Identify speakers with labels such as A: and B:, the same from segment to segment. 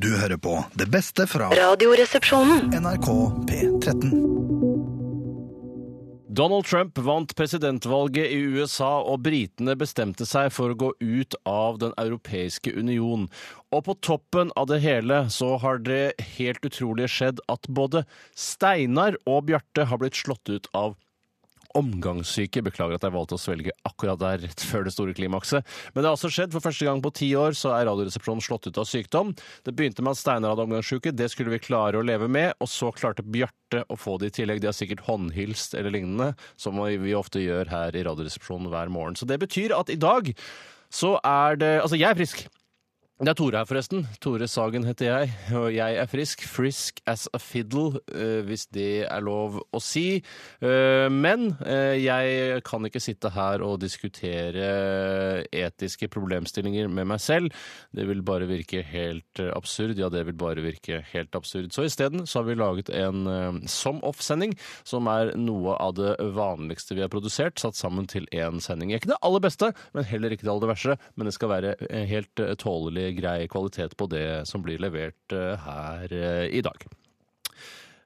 A: Du hører på det beste fra
B: Radioresepsjonen.
A: NRK P13.
C: Donald Trump vant presidentvalget i USA, og britene bestemte seg for å gå ut av Den europeiske union. Og på toppen av det hele så har det helt utrolige skjedd at både Steinar og Bjarte har blitt slått ut av omgangssyke. Beklager at jeg valgte å svelge akkurat der rett før det store klimakset. Men det har altså skjedd. For første gang på ti år så er Radioresepsjonen slått ut av sykdom. Det begynte med at Steinar hadde omgangssyke. Det skulle vi klare å leve med. Og så klarte Bjarte å få det i tillegg. De har sikkert håndhilst eller lignende, som vi ofte gjør her i Radioresepsjonen hver morgen. Så det betyr at i dag så er det Altså, jeg er frisk. Det er Tore her, forresten. Tore Sagen heter jeg, og jeg er frisk. Frisk as a fiddle, eh, hvis det er lov å si. Eh, Men eh, jeg kan ikke sitte her og diskutere eh, etiske problemstillinger med meg selv. Det vil bare virke helt eh, absurd. Ja, det vil bare virke helt absurd. Så isteden så har vi laget en eh, som off-sending, som er noe av det vanligste vi har produsert, satt sammen til én sending. Ikke det aller beste, men heller ikke det aller verste. Men det skal være eh, helt eh, tålelig, grei kvalitet på det som blir levert eh, her eh, i dag.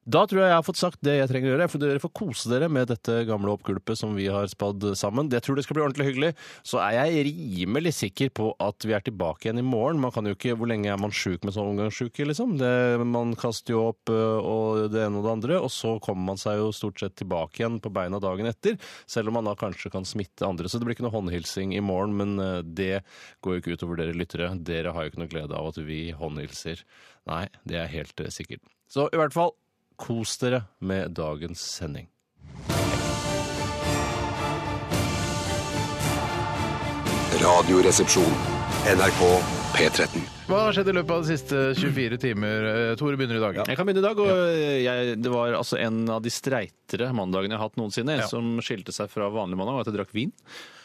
C: Da tror jeg jeg har fått sagt det jeg trenger å gjøre. For dere får kose dere med dette gamle oppgulpet som vi har spadd sammen. Jeg tror det skal bli ordentlig hyggelig. Så er jeg rimelig sikker på at vi er tilbake igjen i morgen. Man kan jo ikke, Hvor lenge er man sjuk med sånn omgangssyke, liksom? Det, man kaster jo opp ø, og det ene og det andre, og så kommer man seg jo stort sett tilbake igjen på beina dagen etter. Selv om man da kanskje kan smitte andre. Så det blir ikke noe håndhilsing i morgen, men ø, det går jo ikke utover dere lyttere. Dere har jo ikke noe glede av at vi håndhilser. Nei, det er helt ø, sikkert. Så i hvert fall Kos dere med dagens sending.
D: Radioresepsjon. NRK P13.
E: Hva har skjedd i løpet av de siste 24 timer? Eh, Tore begynner i dag.
C: Jeg kan begynne i dag. og jeg, Det var altså en av de streitere mandagene jeg har hatt noensinne, som skilte seg fra vanlig mandag, og at jeg drakk vin.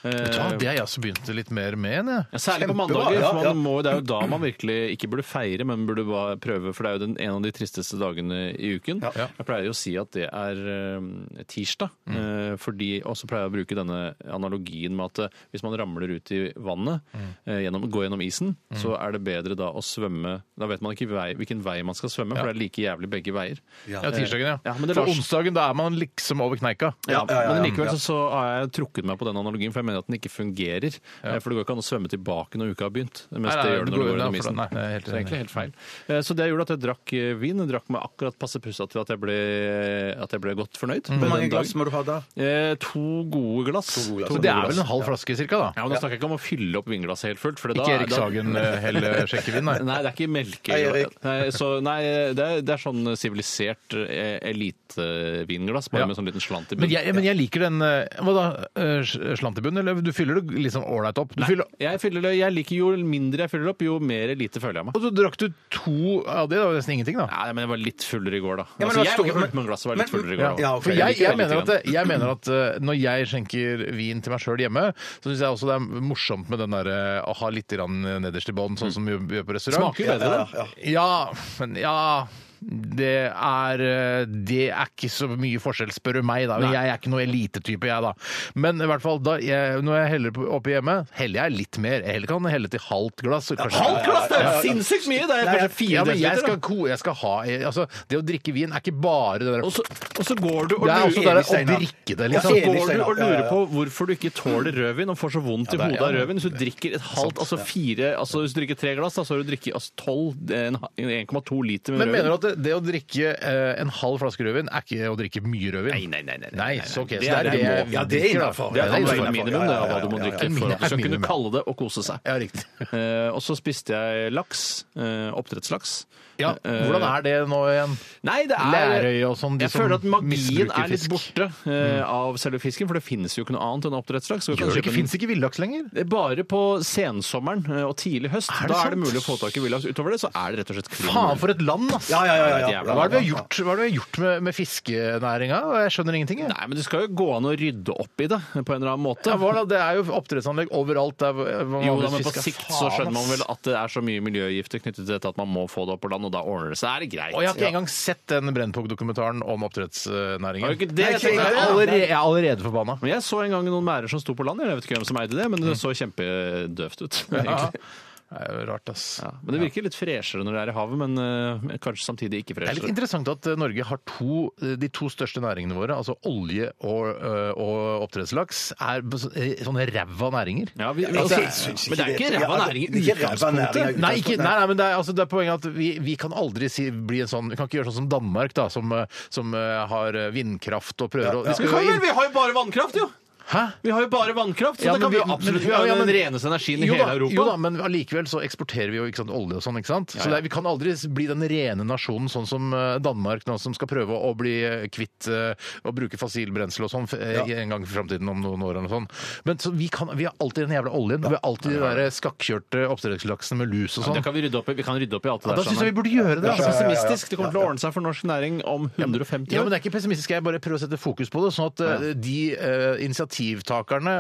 E: Vet du hva, det har Eh, jeg også begynt litt mer med. enn
C: Ja,
E: Jeg.
C: Særlig på mandager. for man må, det er jo da man virkelig ikke burde feire, men burde bare prøve. For det er jo den, en av de tristeste dagene i uken.
E: Ja. Mm.
C: Jeg pleier jo å si at det er eh, tirsdag. eh, fordi, og så pleier jeg å bruke denne analogien med at eh, hvis man ramler ut i vannet,
E: Mm.
C: eh, gjennom, går gjennom isen, så er det bedre da å svømme Da vet man ikke vei, hvilken vei man skal svømme, for det er like jævlig begge veier.
E: Ja, tirsdagen, ja.
C: Ja, men det
E: For
C: Lars-
E: onsdagen, da er man liksom over kneika.
C: Ja, Men likevel så, så har jeg trukket meg på den analogien, for jeg mener at den ikke fungerer. Eh, For det går ikke an å svømme tilbake når uka har begynt. Mens
E: Nei, nei,
C: det gjør det
E: det
C: når du går
E: går- nei,
C: gjennom
E: for da-
C: isen.
E: nei, jeg er helt
C: så det er egentlig
E: enig.
C: helt feil. Eh, Så det gjorde at jeg drakk eh, vin. Jeg drakk meg akkurat passe pussa til at jeg ble, at jeg ble godt fornøyd. med
F: Mm. Hvor mange
C: den
F: glass
C: dagen.
F: må du ha da?
C: Eh, to gode glass.
F: To gode glass.
E: Så det er vel en halv flaske cirka, da.
C: Ja, men Da snakker jeg ikke om å fylle opp vinglasset helt fullt. For da,
E: Ikke Erik
C: da-
E: Sagen eh, hell sjekkevin, nei.
C: Nei, det er ikke melke...
F: Hei, Erik.
C: Nei, så, nei det, er, det er sånn sivilisert eh, elitevinglass, bare
E: Ja.
C: med sånn liten slant i
E: Men
C: bunnen.
E: jeg, men jeg liker den eh, Hva da? eh, Slant i bunnen? Eller du fyller det litt sånn ålreit opp? Du fyller,
C: Jeg, fyller, det- jeg liker Jo mindre jeg fyller opp, jo mer elite føler jeg meg.
E: og så drakk du to av det, det var nesten ingenting, da.
C: Nei, men Jeg var litt fullere i går, da.
F: Ja, men
C: altså,
F: det
C: jeg var
F: var
C: ikke
F: stor-
C: fullt, men glasset var litt
F: men-
C: fullere i går.
F: Ja,
C: da.
F: ja, ok.
E: For
C: Jeg
E: jeg,
C: liker
E: jeg,
C: det
E: mener
C: lite
E: at, jeg mener at eh, når jeg skjenker vin til meg sjøl hjemme, så syns jeg også det er morsomt med den derre å ha litt grann nederst i bånn, sånn som vi gjør på restaurant.
C: Smaker jo bedre,
F: Ja, ja,
E: Ja, men ja det er, eh, det er ikke så mye forskjell, spør du meg. da
C: Nei.
E: Jeg er ikke noe elitetype, jeg, da. Men i hvert fall da jeg, når jeg heller på- oppi hjemme, heller jeg litt mer. Jeg heller kan helle til halvt glass. kanskje-
C: Halvt glass! Det er sinnssykt mye! Det er
E: Ja,
C: kanskje fire
E: ja, men
C: desiliter,
E: jeg
C: da.
E: skal, ko- jeg skal ha altså, Det å drikke vin er ikke bare det der
C: Og så, og så går du og
E: Det er også det
C: lurer
E: der å drikke det, liksom.
C: så
F: Enig,
C: går du
F: Steinar.
C: og
F: Ja, ja,
C: lurer
F: ja.
C: på hvorfor du ikke tåler rødvin og får så vondt i
E: det er-
C: hodet av
E: ja.
C: rødvin. Hvis du drikker et halvt, altså fire altså Hvis du drikker tre glass, da, så har du drukket altså 12, en- 1,2 liter med
E: Men mener du
C: rødvin.
E: at det, det å drikke eh, en halv flaske rødvin er ikke å drikke mye rødvin?
C: Nei, nei, nei, nei, nei,
E: nei,
C: nei,
E: så, ok,
C: nei.
E: så
C: Det er
E: det
C: det
E: er
C: må-
E: det
F: ja, det er innenfor.
C: Det er
F: Ja, det er
C: absolutt
F: innenfor,
C: minimum
F: ja,
C: det,
F: ja,
C: av hva
F: ja,
C: du må
F: ja, ja,
C: drikke
E: ja.
C: for at du skal kunne
E: Minimum.
C: kalle det å kose seg.
E: Ja, riktig.
C: Eh, og så spiste jeg laks. Eh, oppdrettslaks.
E: Ja,
C: Eh,
E: hvordan er det nå igjen?
C: Nei, det er
E: Lærøy og sånn, de
C: Jeg
E: som
C: føler at magien
E: misbruker
C: er litt
E: fisk. Mm.
C: borte eh, av selve fisken, for det finnes jo ikke noe annet enn oppdrettslaks. Så du kan
E: Gjør det
C: kjøpe
E: ikke,
C: en-
E: finnes ikke villaks lenger?
C: Det er Bare på sensommeren eh, og tidlig høst.
E: Er
C: da
E: det
C: er det
E: sant?
C: mulig å få tak i villaks. Utover det så er det rett og slett krim.
E: Faen, for et land, ass!
F: Ja, ja, ja, ja.
C: Det er et jævla
E: Hva er det vi har gjort, hva er det vi har gjort med, med fiskenæringa? Jeg skjønner ingenting. Jeg.
C: Nei, men det skal jo gå an å rydde opp i det på en eller annen måte.
E: Ja, hva da? Det er jo oppdrettsanlegg overalt. Der, hvor-
C: Jo,
E: hvor
C: da, men på
E: fisker-
C: sikt så
E: Faen,
C: skjønner man
E: ass.
C: vel at det er så mye miljøgifter knyttet til dette at man må få det opp på land, og da ordner det seg. Er det greit?
E: Og jeg har ikke
C: Ja.
E: engang sett den Brennpunkt-dokumentaren om oppdrettsnæringen.
C: Har du ikke det?
E: Nei,
C: Jeg tenkte-
E: jeg, er allerede, jeg er allerede forbanna.
C: Men jeg så en gang noen merder som sto på land. Jeg vet ikke hvem som eide det, men det så kjempedøvt ut.
E: Mm. Ja.
C: egentlig.
E: Det er jo rart, ass.
C: Ja, men Det virker litt freshere når det er i havet, men eh, kanskje samtidig ikke
E: Det er litt
C: freshere.
E: interessant at eh, Norge har to, eh, de to største næringene våre, altså olje og, eh, og oppdrettslaks, er på så- eh, sånne ræva næringer.
C: Ja, vi,
E: Altså,
C: altså,
E: jeg
A: syns ikke
C: men det er
A: det.
C: ikke ræva
A: Ja,
C: næring
A: det-
C: i
A: det er ikke ræva næring,
C: utgangspunktet.
A: ja.
E: Nei, ikke, nei, nei, men det er, altså, det er poenget at vi, vi kan aldri si, bli en sånn Vi kan ikke gjøre sånn som Danmark, da, som, eh, som eh, har eh, vindkraft og prøver å de skal
C: Vi
E: jo
C: kan vel,
E: inn-
C: vi har jo bare vannkraft, jo!
E: Hæ?
C: Vi har jo bare vannkraft, så
E: Ja,
C: da
E: men
C: kan vi jo
E: vi-
C: absolutt
E: men-
C: vi har
E: ja,
C: jo den
E: ja, men-
C: reneste energien i
E: Jo
C: hele
E: da,
C: Europa.
E: jo da, men allikevel så eksporterer vi jo ikke sant, olje og sånn, ikke sant? Så det er- vi kan aldri bli den rene nasjonen sånn som eh, Danmark nå, som skal prøve å bli eh, kvitt eh, å bruke fossil brensel og sånn f- eh, en gang i framtiden om noen år eller noe sånt. Men så vi, kan, vi har alltid den jævla oljen, og vi har alltid de der skakkjørte oppdrettslaksene med lus og
C: Det
E: sånn.
C: kan vi, rydde opp i. vi kan rydde opp i alt det
E: Da
C: der.
E: syns jeg
C: sammen.
E: vi burde gjøre det.
C: Det er sånn
E: Altså.
C: pessimistisk. Det kommer til å ordne seg for norsk næring om 150
E: Ja, men
C: år.
E: det er ikke pessimistisk. Jeg bare prøver å sette fokus på det, sånn at eh, de eh, initiativtakerne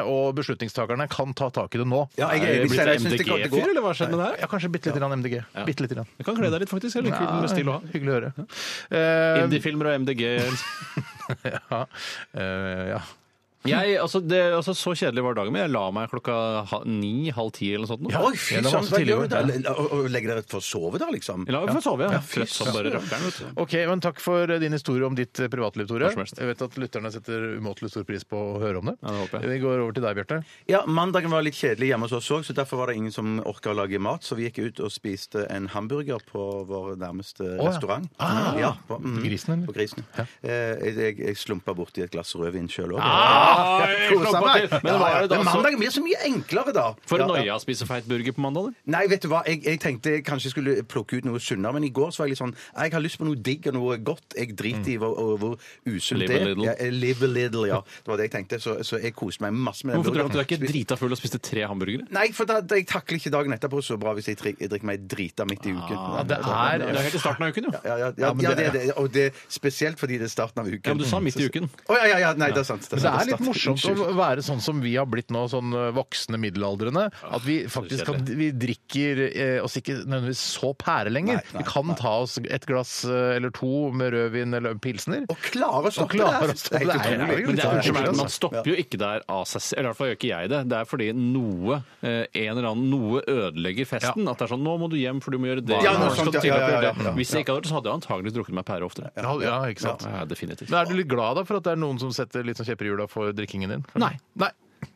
E: og beslutningstakerne kan ta tak i det nå.
A: Ja,
C: Er
A: jeg er
C: det
A: enig
C: blitt
A: selv. Jeg
C: en
A: syns det går- det går.
C: MDG-fyr, eller hva skjedde med det her?
E: Ja, kanskje bitte lite grann MDG. Bitte lite grann.
C: Du kan kle deg litt, faktisk. Eller kvinnen med stil
E: Ja,
C: òg.
E: hyggelig å høre. Eh,
C: Indiefilmer og MDG.
E: ja. Eh, ja.
C: Jeg, altså, det, altså, så kjedelig var dagen min. Jeg la meg klokka ha- ni, halv ti eller noe sånt. nå.
A: Oi, fy
E: Ja, det var
A: søren,
E: masse
A: hva gjør
E: tidligere.
A: du da? Og- Og legger dere ut for å sove da, liksom?
C: La meg få sove, jeg.
E: Ja,
C: Ja.
E: fy
C: Trøtt som
E: søren.
C: bare rakkeren, vet du.
E: Ok, men Takk for din historie om ditt eh, privatliv, Tore.
C: Hva som helst.
E: Jeg vet at lytterne setter umåtelig stor pris på å høre om det.
C: Ja, det håper jeg.
E: Vi går over til deg, Bjarte.
A: Ja, Mandagen var litt kjedelig hjemme hos oss òg, så derfor var det ingen som orka å lage mat. Så vi gikk ut og spiste en hamburger på vår nærmeste
E: ja.
A: restaurant.
E: Ah,
A: ja, på, mm,
E: grisen, eller?
A: På grisen. Eh, jeg- jeg, jeg slumpa borti et glass rødvin sjøl òg.
C: Ah! slå på til. Men var det da så
A: Men mandagen blir så mye enklere da.
C: For
A: Ja,
C: en
A: ja.
C: noia å spise feit burger på mandag, eller?
A: Nei, vet du hva, jeg, jeg tenkte jeg kanskje skulle plukke ut noe sunnere, men i går så var jeg litt sånn Jeg har lyst på noe digg og noe godt. Jeg driter i hvor, og hvor usunt
C: Mm. Live
A: det
C: a
A: er.
C: little.
A: Ja, eh, live a little, ja. Det var det jeg tenkte. Så, så jeg koste meg masse med den
C: Hvorfor drakk du deg
A: burgeren.
C: ikke drita full og spiste tre hamburgere?
A: Nei, for da, da, jeg takler ikke dagen etterpå så bra hvis jeg, tri- jeg drikker meg drita midt i uken.
E: Ja, Ah,
C: Nei,
E: det er
C: det er helt i starten av uken, jo.
A: ja, ja, ja,
E: Ja, men
A: ja,
E: det-
A: det er det. Og det er spesielt fordi det er starten av uken.
C: Ja, men du sa midt i uken.
A: Å ja, ja, ja. Nei, det er sant.
E: Men det
A: sant,
E: er litt
A: starten-
E: morsomt å
A: Unnskyld.
E: være sånn som vi har blitt nå, sånn eh, voksne middelaldrende. At vi faktisk kan, vi drikker eh, oss ikke nødvendigvis så pære lenger.
A: Nei, nei,
E: vi kan
A: nei.
E: ta oss et glass eh, eller to med rødvin eller pilsner.
A: Å klare å stoppe
E: klare
A: det
E: å stoppe det er-
A: utrolig.
C: Men det er,
E: Litt
C: unnskyld meg,
E: artig,
C: man stopper jo ikke der av seg selv. Eller i hvert fall gjør ikke jeg det. Det er fordi noe eh, en eller annen, noe ødelegger festen. At det er sånn 'nå må du hjem, for du må gjøre det'.
A: Ja,
C: Nå
A: noe
C: skal du
A: sånt, ja,
C: til og med
A: ja, ja,
C: gjøre det.
A: ja, ja.
C: Hvis jeg ikke hadde gjort det, så hadde jeg antageligvis drukket meg pære oftere.
E: Ja, ja, ikke sant.
C: Ja, definitivt.
E: Men er du litt glad da for at det er noen som setter litt sånn kjepper i hjula for drikkingen din?
C: Nei.
E: Nei.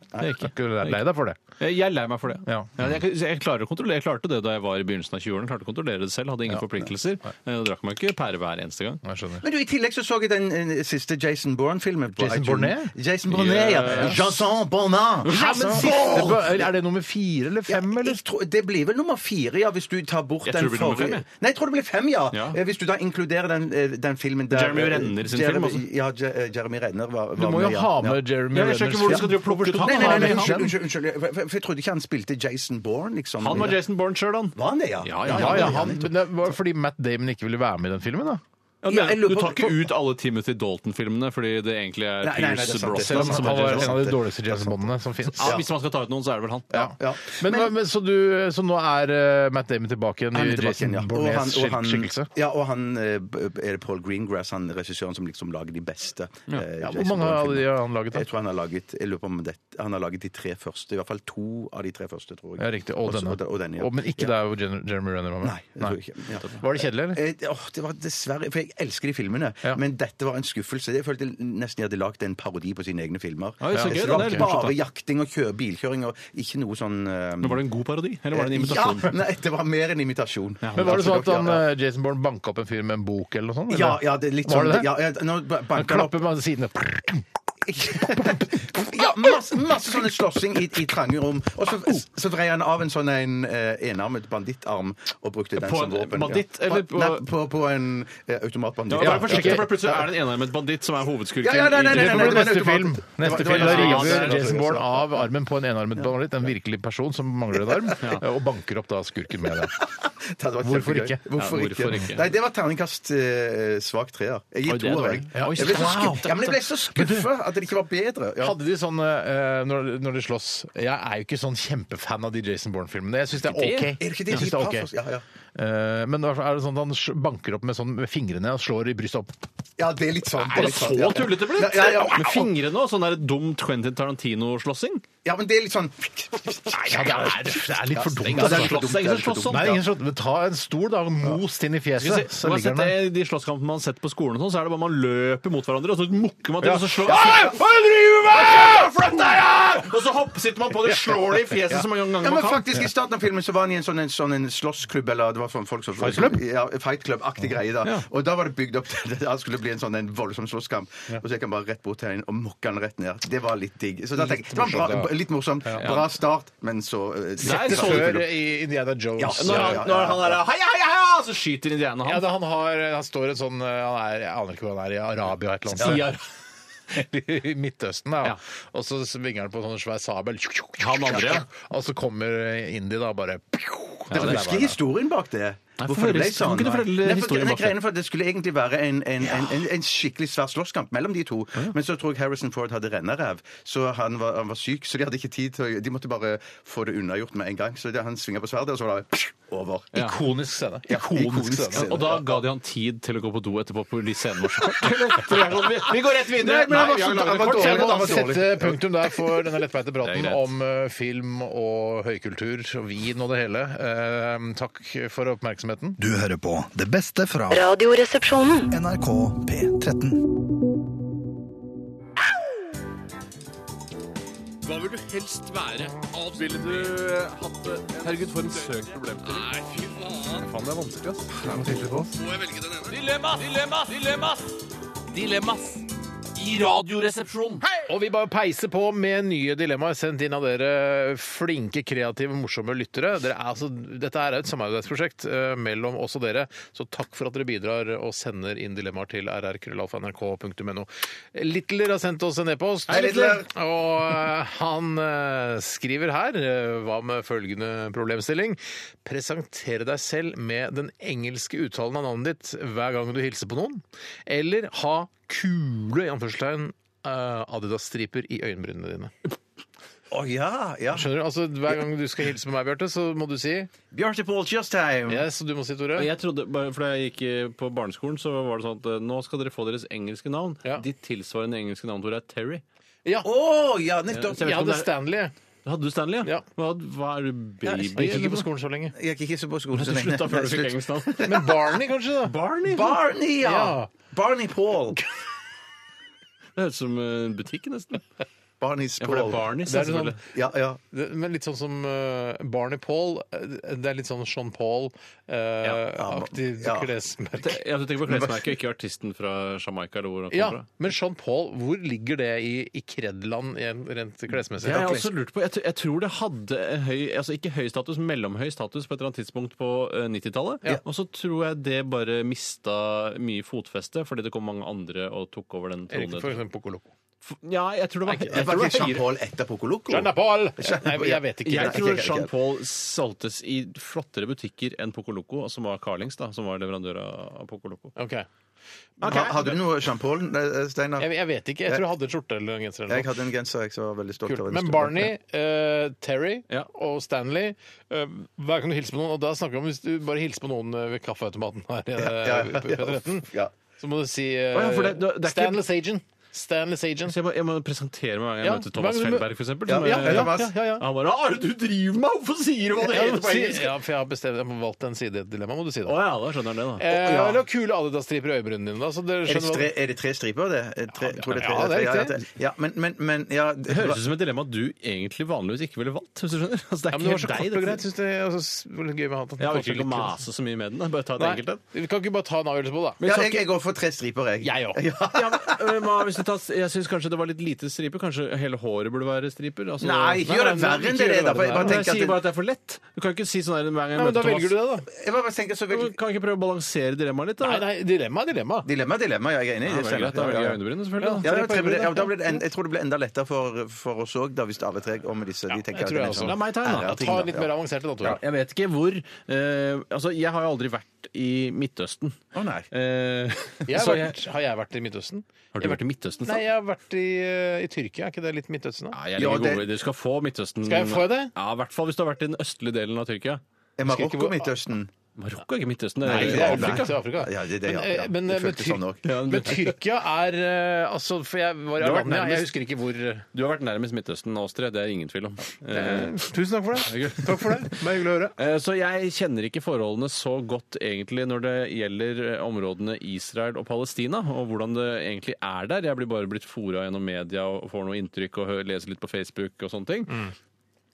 C: Det er
E: Jeg er
C: ikke.
E: ikke lei deg for det.
C: Jeg jeg er lei meg for det.
E: Ja.
C: jeg, jeg, klarer å kontrollere, jeg klarte det da jeg var i begynnelsen av 20-årene. Klarte å kontrollere det selv, hadde ingen forpliktelser. Jeg drakk meg ikke pære hver eneste gang.
E: Jeg skjønner.
A: Men du, I tillegg så så jeg den eh, siste Jason Bourne-filmen. på
E: Jason
A: iTunes.
E: Bourne?
A: Jason Bourne, ja.
C: Yes.
A: Jason Bourne!
E: Men
A: Jason
E: siste
A: Bourne!
E: bø- Er det nummer fire eller fem,
A: Ja,
E: eller?
A: jeg tror, det blir vel nummer fire, ja, hvis du tar bort
C: Jeg
A: den
C: tror det blir nummer fem, jeg.
A: Nei, jeg tror det blir fem, ja.
C: Ja.
A: Eh, Hvis du da inkluderer den, eh, den filmen der
C: Jeremy Renner sin film, altså.
A: Ja, Je- eh, Jeremy Renner var, var
E: Du må jo
A: med, ja.
E: ha
A: Ja.
E: med Jeremy
C: Ja, jeg skjønner ikke hvor du skal drive og plukke ut han.
A: Nei, nei, nei, nei,
E: Han
A: unnskyld,
E: er-
A: unnskyld, unnskyld. For- For for jeg trodde ikke han spilte Jason Bourne, liksom.
C: Han var Jason Bourne sjøl, han.
A: Var han det, ja?
C: Ja,
E: Ja, ja, han, men det var fordi Matt Damon ikke ville være med i den filmen, da.
C: Ja,
A: Ja,
C: men,
A: jeg lurer
C: du
A: på-
C: tar ikke ut alle Timothy Dalton-filmene fordi det egentlig er
A: Nei, nei, nei, det er
C: Pierce
A: sant, det er
E: Selv
C: Brosnan
E: om han
A: sant,
C: som sånn. er
E: var
C: Jason
E: en
C: Bourne.
E: av de dårligste James Bondene som fins.
C: Ja, hvis man skal ta ut noen, så er det vel han.
A: Ja.
E: Men, hva- men, så, du, så nå er eh, Matt Damon tilbake igjen
A: Han
E: i
A: er tilbake igjen,
E: Jason
A: ja. Og han-
E: Bournes
A: og han-
E: skikkelse?
A: Ja, og han eh, er det Paul Greengrass, han regissøren som liksom lager de beste. eh,
E: Ja, hvor
A: Jason
E: mange av
A: Bourne-filmer.
E: de har han laget, da?
A: Jeg tror han har laget jeg lurer på om det, han har laget de tre første. I hvert fall to av de tre første, tror jeg.
E: Ja, riktig. Og
A: Også-
E: denne.
A: Og, og denne ja.
E: Og- Men ikke der hvor Jen- Jeremy Renner var med?
A: Nei, jeg tror ikke. Ja.
E: Var det kjedelig, eller?
A: Eh, åh, det var dessverre, for Jeg elsker de filmene,
E: Ja.
A: men dette var en skuffelse. Jeg følte nesten jeg hadde lagd en parodi på sine egne filmer.
C: Oi, så
A: Eh,
C: gøy,
A: det
C: det
A: var
C: er litt morsomt,
A: bare
C: da.
A: jakting og kjø, bilkjøring og ikke noe sånn eh,
C: Men var det en god parodi, eller var det en imitasjon?
A: Ja, nei, det var mer en imitasjon.
E: Men var det sånn at han,
A: Ja,
E: eh, Jason Bourne banka opp en fyr med en bok eller noe sånt? eller?
A: ja, ja, det er litt
E: Var
A: sånn
E: det det?
A: Ja, ja, nå ba-
E: Han
A: banker han opp
E: klapper med sidene.
A: ja, masse, masse sånne slåssing i, i trange rom. Og så, så vrei han av en sånn en, eh, enarmet bandittarm og brukte den
C: På
A: som
C: en
A: våpen.
C: banditt,
A: ja.
C: eller
A: på
C: på-
A: Nei, på, på en eh, automatbanditt.
C: Ja, vær forsiktig,
E: ikke-
C: for plutselig er det en enarmet banditt som er hovedskurken.
A: Ja, ja, nei, nei,
C: i-
E: Det
A: nei,
E: får
A: nei,
E: bli
A: det var
E: neste
A: automat-
E: film.
A: det var-
E: Neste
A: det
E: film.
A: var
E: Da
A: en automat-
E: river
A: ja,
E: Jason
A: ja.
E: Bourne av armen på en enarmet banditt, en virkelig person som mangler en arm, og banker opp da skurken med det.
A: Det hadde vært
E: Hvorfor
A: kjempegøy.
E: ikke?
A: Hvorfor,
C: Ja, hvorfor
A: ikke?
C: ikke?
A: Nei, det var terningkast eh, svak treer.
C: Oi,
A: Jeg gir
C: det er
A: toer, jeg.
C: dårlig. Ja, oi,
A: Jeg ble så
C: wow.
A: skuff- Ja, men jeg ble så skuffa at det ikke var bedre. Ja.
E: Hadde de sånn eh, når, når de slåss Jeg er jo ikke sånn kjempefan av de Jason Bourne-filmene. Jeg syns det er
C: Ikke det?
E: OK.
A: Er det ikke
E: Jeg
A: det?
E: synes det er ok.
A: Ja, ja.
E: Eh, men i hvert fall er det sånn at han sj- banker opp med, sånn, med fingrene og slår i brystet opp?
A: ja, det er litt sånn.
C: Er det
A: litt
C: så
A: sånn, ja.
C: tullete blitt?
A: Ja, ja, ja.
C: Med fingrene og sånn der dumt Quentin Tarantino-slåssing?
A: Ja, men det er litt sånn
E: Ja, det, er, det er litt for dumt. altså.
A: altså. Det er ikke
C: slåss, det er ingen som slåss sånn.
E: Nei, ingen slått. Men ta en stol, da. og Mos den
C: Skal vi
E: i fjeset.
C: se,
E: Så
C: man har
E: ligger
C: sett
E: den der.
C: det, i de slåsskamper man har sett på skolen, og sånn, så er det bare man løper mot hverandre, og så mukker man til, og så slår Au! Hva driver du med?! Flytt deg! ja! Og så hopper, sitter man på det, slår det i fjeset så mange ganger
A: Ja,
C: man
A: men
C: kan.
A: faktisk I starten av filmen så var han i en sånn, en, sånn en slåssklubb. eller det var sånn folk som... Fight
E: Club?
A: Ja, Fight Club-aktig greie. da. Og da var det bygd opp til at det skulle bli en sånn en voldsom slåsskamp. Og så gikk han bare rett bort til henne og mokka han rett ned. Det var litt digg. Så da tenker jeg, det var bra, litt morsomt. Bra start, men så eh,
C: Nei,
A: setter
C: så
A: seg
E: Før
A: opp.
E: i Indiana Jones.
C: Når
A: Ja, ja,
C: han,
A: ja,
C: når
A: ja.
C: han er heia, heia, heia, så skyter indianerne
E: Ja,
C: han.
E: da han, har, han står en sånn eh, han er, Jeg aner ikke hvor han er, i Arabia et eller
C: Sier
E: annet sted. I Midtøsten, da.
C: Ja.
E: Og så svinger han på en sånn svær sabel.
C: Han andre, ja.
E: Og så kommer Indi da bare
A: Jeg husker historien bak det.
C: Nei,
A: Hvorfor
C: fortell-
A: det ble
C: kan
A: sånn?
C: ikke du fortelle
A: Nei, for-
C: historien
A: nei,
C: bak det?
A: greiene for at Det skulle egentlig være en, en, en, en, en skikkelig svær slåsskamp mellom de to. Men så tror jeg Harrison Ford hadde renneræv, så han var, han var syk. Så de hadde ikke tid til å De måtte bare få det unnagjort med en gang. Så det, han svinger på sverdet, og så var det over.
C: Ja.
E: Ikonisk scene.
A: Ja, ikonisk
E: Ikonisk
A: scene.
E: scene.
C: Og da ga de han tid til å gå på do etterpå på de scenene våre. Vi går rett videre!
A: Nei, men han var
C: vi har
A: så-
C: laget
A: han
C: en
A: var
C: kort
E: Så
A: dårlig.
C: scene.
E: jeg må
A: Det
E: da
A: var dårlig.
E: sette eh, punktum der for denne lettbeinte praten
C: Det er greit.
E: om eh, film og høykultur og vin og det hele. Eh, Takk for oppmerksomheten.
B: Du hører på det beste fra
F: Radioresepsjonen.
B: NRK P13.
E: Og vi bare peiser på med nye dilemmaer sendt inn av dere flinke, kreative, morsomme lyttere. Dere er altså, dette er et samarbeidsprosjekt eh, mellom oss og dere, så takk for at dere bidrar og sender inn dilemmaer til rrkrøllalfa.nrk.no. Littler har sendt oss en e-post.
A: Hei, Littler!
E: Og eh, han eh, skriver her, eh, hva med følgende problemstilling? Presentere deg selv med den engelske uttalen av navnet ditt hver gang du hilser på noen, eller ha kule, i anførselstegn, eh, Adidas-striper i øyenbrynene dine.
A: Å ja, ja.
E: Skjønner du? Altså, Hver gang du skal hilse på meg, Bjarte, så må du si
A: Beautiful just time.
E: yes, og du må si Tore.
C: Jeg trodde, bare fordi jeg gikk eh, på barneskolen, så var det sånn at eh, nå skal dere få deres engelske navn.
E: Ja.
C: Ditt tilsvarende engelske navn, Tore, er Terry.
E: Ja,
A: Å ja, nettopp.
C: Ja,
E: jeg
C: det
E: hadde
C: er-
E: Stanley.
C: Hadde du Stanley?
E: Ja.
C: Hva, hva er du, baby?
E: Jeg gikk
C: eller
E: ikke på
C: noe?
E: skolen så lenge.
A: Jeg gikk ikke så på skolen så
C: Du
A: lenge.
C: slutta
A: Nei,
C: før du fikk
A: slutt.
C: engelsk navn.
E: Men Barney, kanskje? da?
C: Barney?
A: Barney, ja.
E: Ja.
A: Barney Paul.
C: Det høres ut som en butikk, nesten.
A: Barney's
C: Ja, for det er
A: Paul.
C: Barney,
E: Det er sånn-
C: selvfølgelig.
A: Ja, ja.
E: Det- Men litt sånn som eh, Barney Paul. eh, Det er litt sånn Sean
A: Ja.
E: Paul-aktig
A: Ja.
E: klesmerke.
C: Te- Ja, du tenker på klesmerket, ikke artisten fra Jamaica eller hvor han
E: Ja,
C: kommer fra?
E: men Sean Paul, hvor ligger det i, i kredland igjen, rent klesmessig?
C: Det har jeg også lurt på. Jeg, tr- jeg tror det hadde en høy, altså ikke høy status, mellomhøy status på et eller annet tidspunkt på eh, 90-tallet. Og så tror jeg det bare mista mye fotfeste fordi det kom mange andre og tok over den
E: Erik, for
C: tronen.
E: eksempel Poco Loco.
C: F- Ja, jeg tror det var,
A: Det
C: jeg
A: var
C: tror det
A: ikke
C: var
A: Jean
C: høyere.
A: Paul etter Poco Loco.
E: Sean Paul! Nei, jeg vet ikke.
C: Jeg
A: Nei, ikke-
C: tror
A: ikke-
C: Jean
A: ikke-
C: Paul solgtes i flottere butikker enn Poco Loco, som var Carlings, da, som var leverandør av Poco Loco.
E: Ok.
A: Ha- Hadde du noe Jean Paul, eh, Steinar?
E: Jeg, jeg vet ikke. Jeg tror jeg hadde en skjorte eller en genser. eller noe.
A: Jeg hadde en genser jeg som var veldig stolt
E: Kult.
A: av. den
E: Men
A: store.
E: Barney, eh, Terry
C: Ja.
E: og Stanley eh, Hver gang du hilser på noen, og da snakker vi om hvis du bare hilser på noen eh, ved kaffeautomaten her, eh,
A: ja, ja.
E: på P13,
A: Ja.
E: så må du si eh,
C: Å ja, for det- det er ikke-
E: Stanley Sagen. Stanley Sagen.
C: Så jeg må, jeg må presentere meg hver gang jeg
E: Ja,
C: møter Thomas
E: hver gang du mø-
C: Felberg, f.eks.
A: Ja, ja, ja, ja.
C: Han bare 'Hva er det du driver med? Hvorfor sier du hva det
E: Ja,
C: heter på
E: si-
C: engelsk?'
E: ja, for jeg har bestemt, jeg har valgt en side i et dilemma, må du si
C: Å
E: det.
C: ja, da skjønner han det, da.
E: Eh,
A: ja.
E: Eller kule Adidas-striper i øyebrynene dine, da. Så dere
A: Er det,
E: skjønner
A: tre,
E: hva
A: er det tre striper, det? Eh, Tre, tror det er tre,
E: ja, det er
A: ja,
E: riktig.
A: ja, men, men, men ja, det-
C: Det høres ut som et dilemma du egentlig vanligvis ikke ville valgt. hvis du skjønner. Altså, det
E: ja,
C: er
E: men det var så
C: ikke
E: kort
C: helt deg,
E: og greit. Synes det altså, s- det var litt gøy med han.
C: Jeg orker ikke å mase så mye med den. Bare ta et enkelt
E: Nei,
C: en.
E: vi kan ikke bare ta en avgjørelse på det, da.
A: ja, jeg, jeg går for tre striper, jeg.
E: Jeg òg.
A: Ja.
C: Ja, men, øh, hva hvis du tar, jeg syns kanskje det var litt lite striper. Kanskje hele håret burde være striper? Altså,
A: Nei,
E: Nei,
A: ikke gjør det
E: nei,
A: verre
E: ikke
A: enn
E: gjør det
A: det er. da, for Jeg
C: men
E: verre,
A: bare
C: jeg
A: tenker at
C: sier bare
A: det-
C: at det er for lett. Du kan ikke si sånn her hver gang jeg
E: Nei, men
C: møter
E: da velger du
C: Thomas.
E: det, da.
A: jeg bare tenker så vel,
C: Kan jeg ikke prøve å balansere dilemmaet litt, da?
E: Nei, nei, dilemma er dilemma.
A: Dilemma er dilemma, ja, jeg er enig i
C: Da
A: det.
C: velger jeg- da
A: Steinar.
C: velger
A: Ja, ja.
C: jeg øyenbrynene, selvfølgelig. da.
A: Ja,
E: Tre på
A: da, tre ble det, ja,
E: øyebrynene.
A: da ble det en, jeg tror det ble enda lettere for, for oss òg, hvis alle tre går med disse. De tenker
E: jeg tror
A: at det er
E: jeg også.
C: La
A: sånn
C: meg ta en, da.
A: ære-
E: Ja,
A: ting,
E: ta en litt
A: ja.
E: mer avansert da, Tore.
C: Jeg vet ikke hvor eh, Altså, jeg har jo aldri vært i Midtøsten.
A: Å, nei.
C: Eh,
E: Jeg har,
C: så jeg,
E: vært, har jeg vært i Midtøsten?
C: har du vært i Midtøsten?
E: Nei,
C: Nei,
E: jeg har vært i, eh, i Tyrkia. Er ikke det litt Midtøsten, da?
C: Nei, jeg
A: Ja,
C: ligger
A: det-
C: god. Du skal få Midtøsten.
E: Skal jeg få det?
C: Ja, I hvert fall hvis du har vært i den østlige delen av Tyrkia.
A: Er
E: Husker ikke
A: Marokko
E: hvor-
A: Midtøsten?
C: Marokko er ikke Midtøsten, det
A: Nei,
C: er
A: det
C: Afrika.
A: er- nei.
E: Til Afrika.
A: Ja, det- det- ja,
E: men, eh,
A: ja.
E: Men,
A: Det
E: eh, men,
A: føltes
E: Tyr-
A: sånn også.
C: Ja, det-
E: men Tyrkia er eh, Altså, for jeg var i
C: har vært
E: Armenia,
C: nærmest.
E: jeg husker ikke hvor eh,
C: Du har vært nærmest Midtøsten og Austria, det er ingen tvil om. Eh,
E: Tusen takk for det. Takk for det. Det var hyggelig å høre.
C: eh, Så jeg kjenner ikke forholdene så godt egentlig når det gjelder eh, områdene Israel og Palestina, og hvordan det egentlig er der. Jeg blir bare blitt fora gjennom media og får noe inntrykk og hø- leser litt på Facebook og sånne ting.
E: Mm.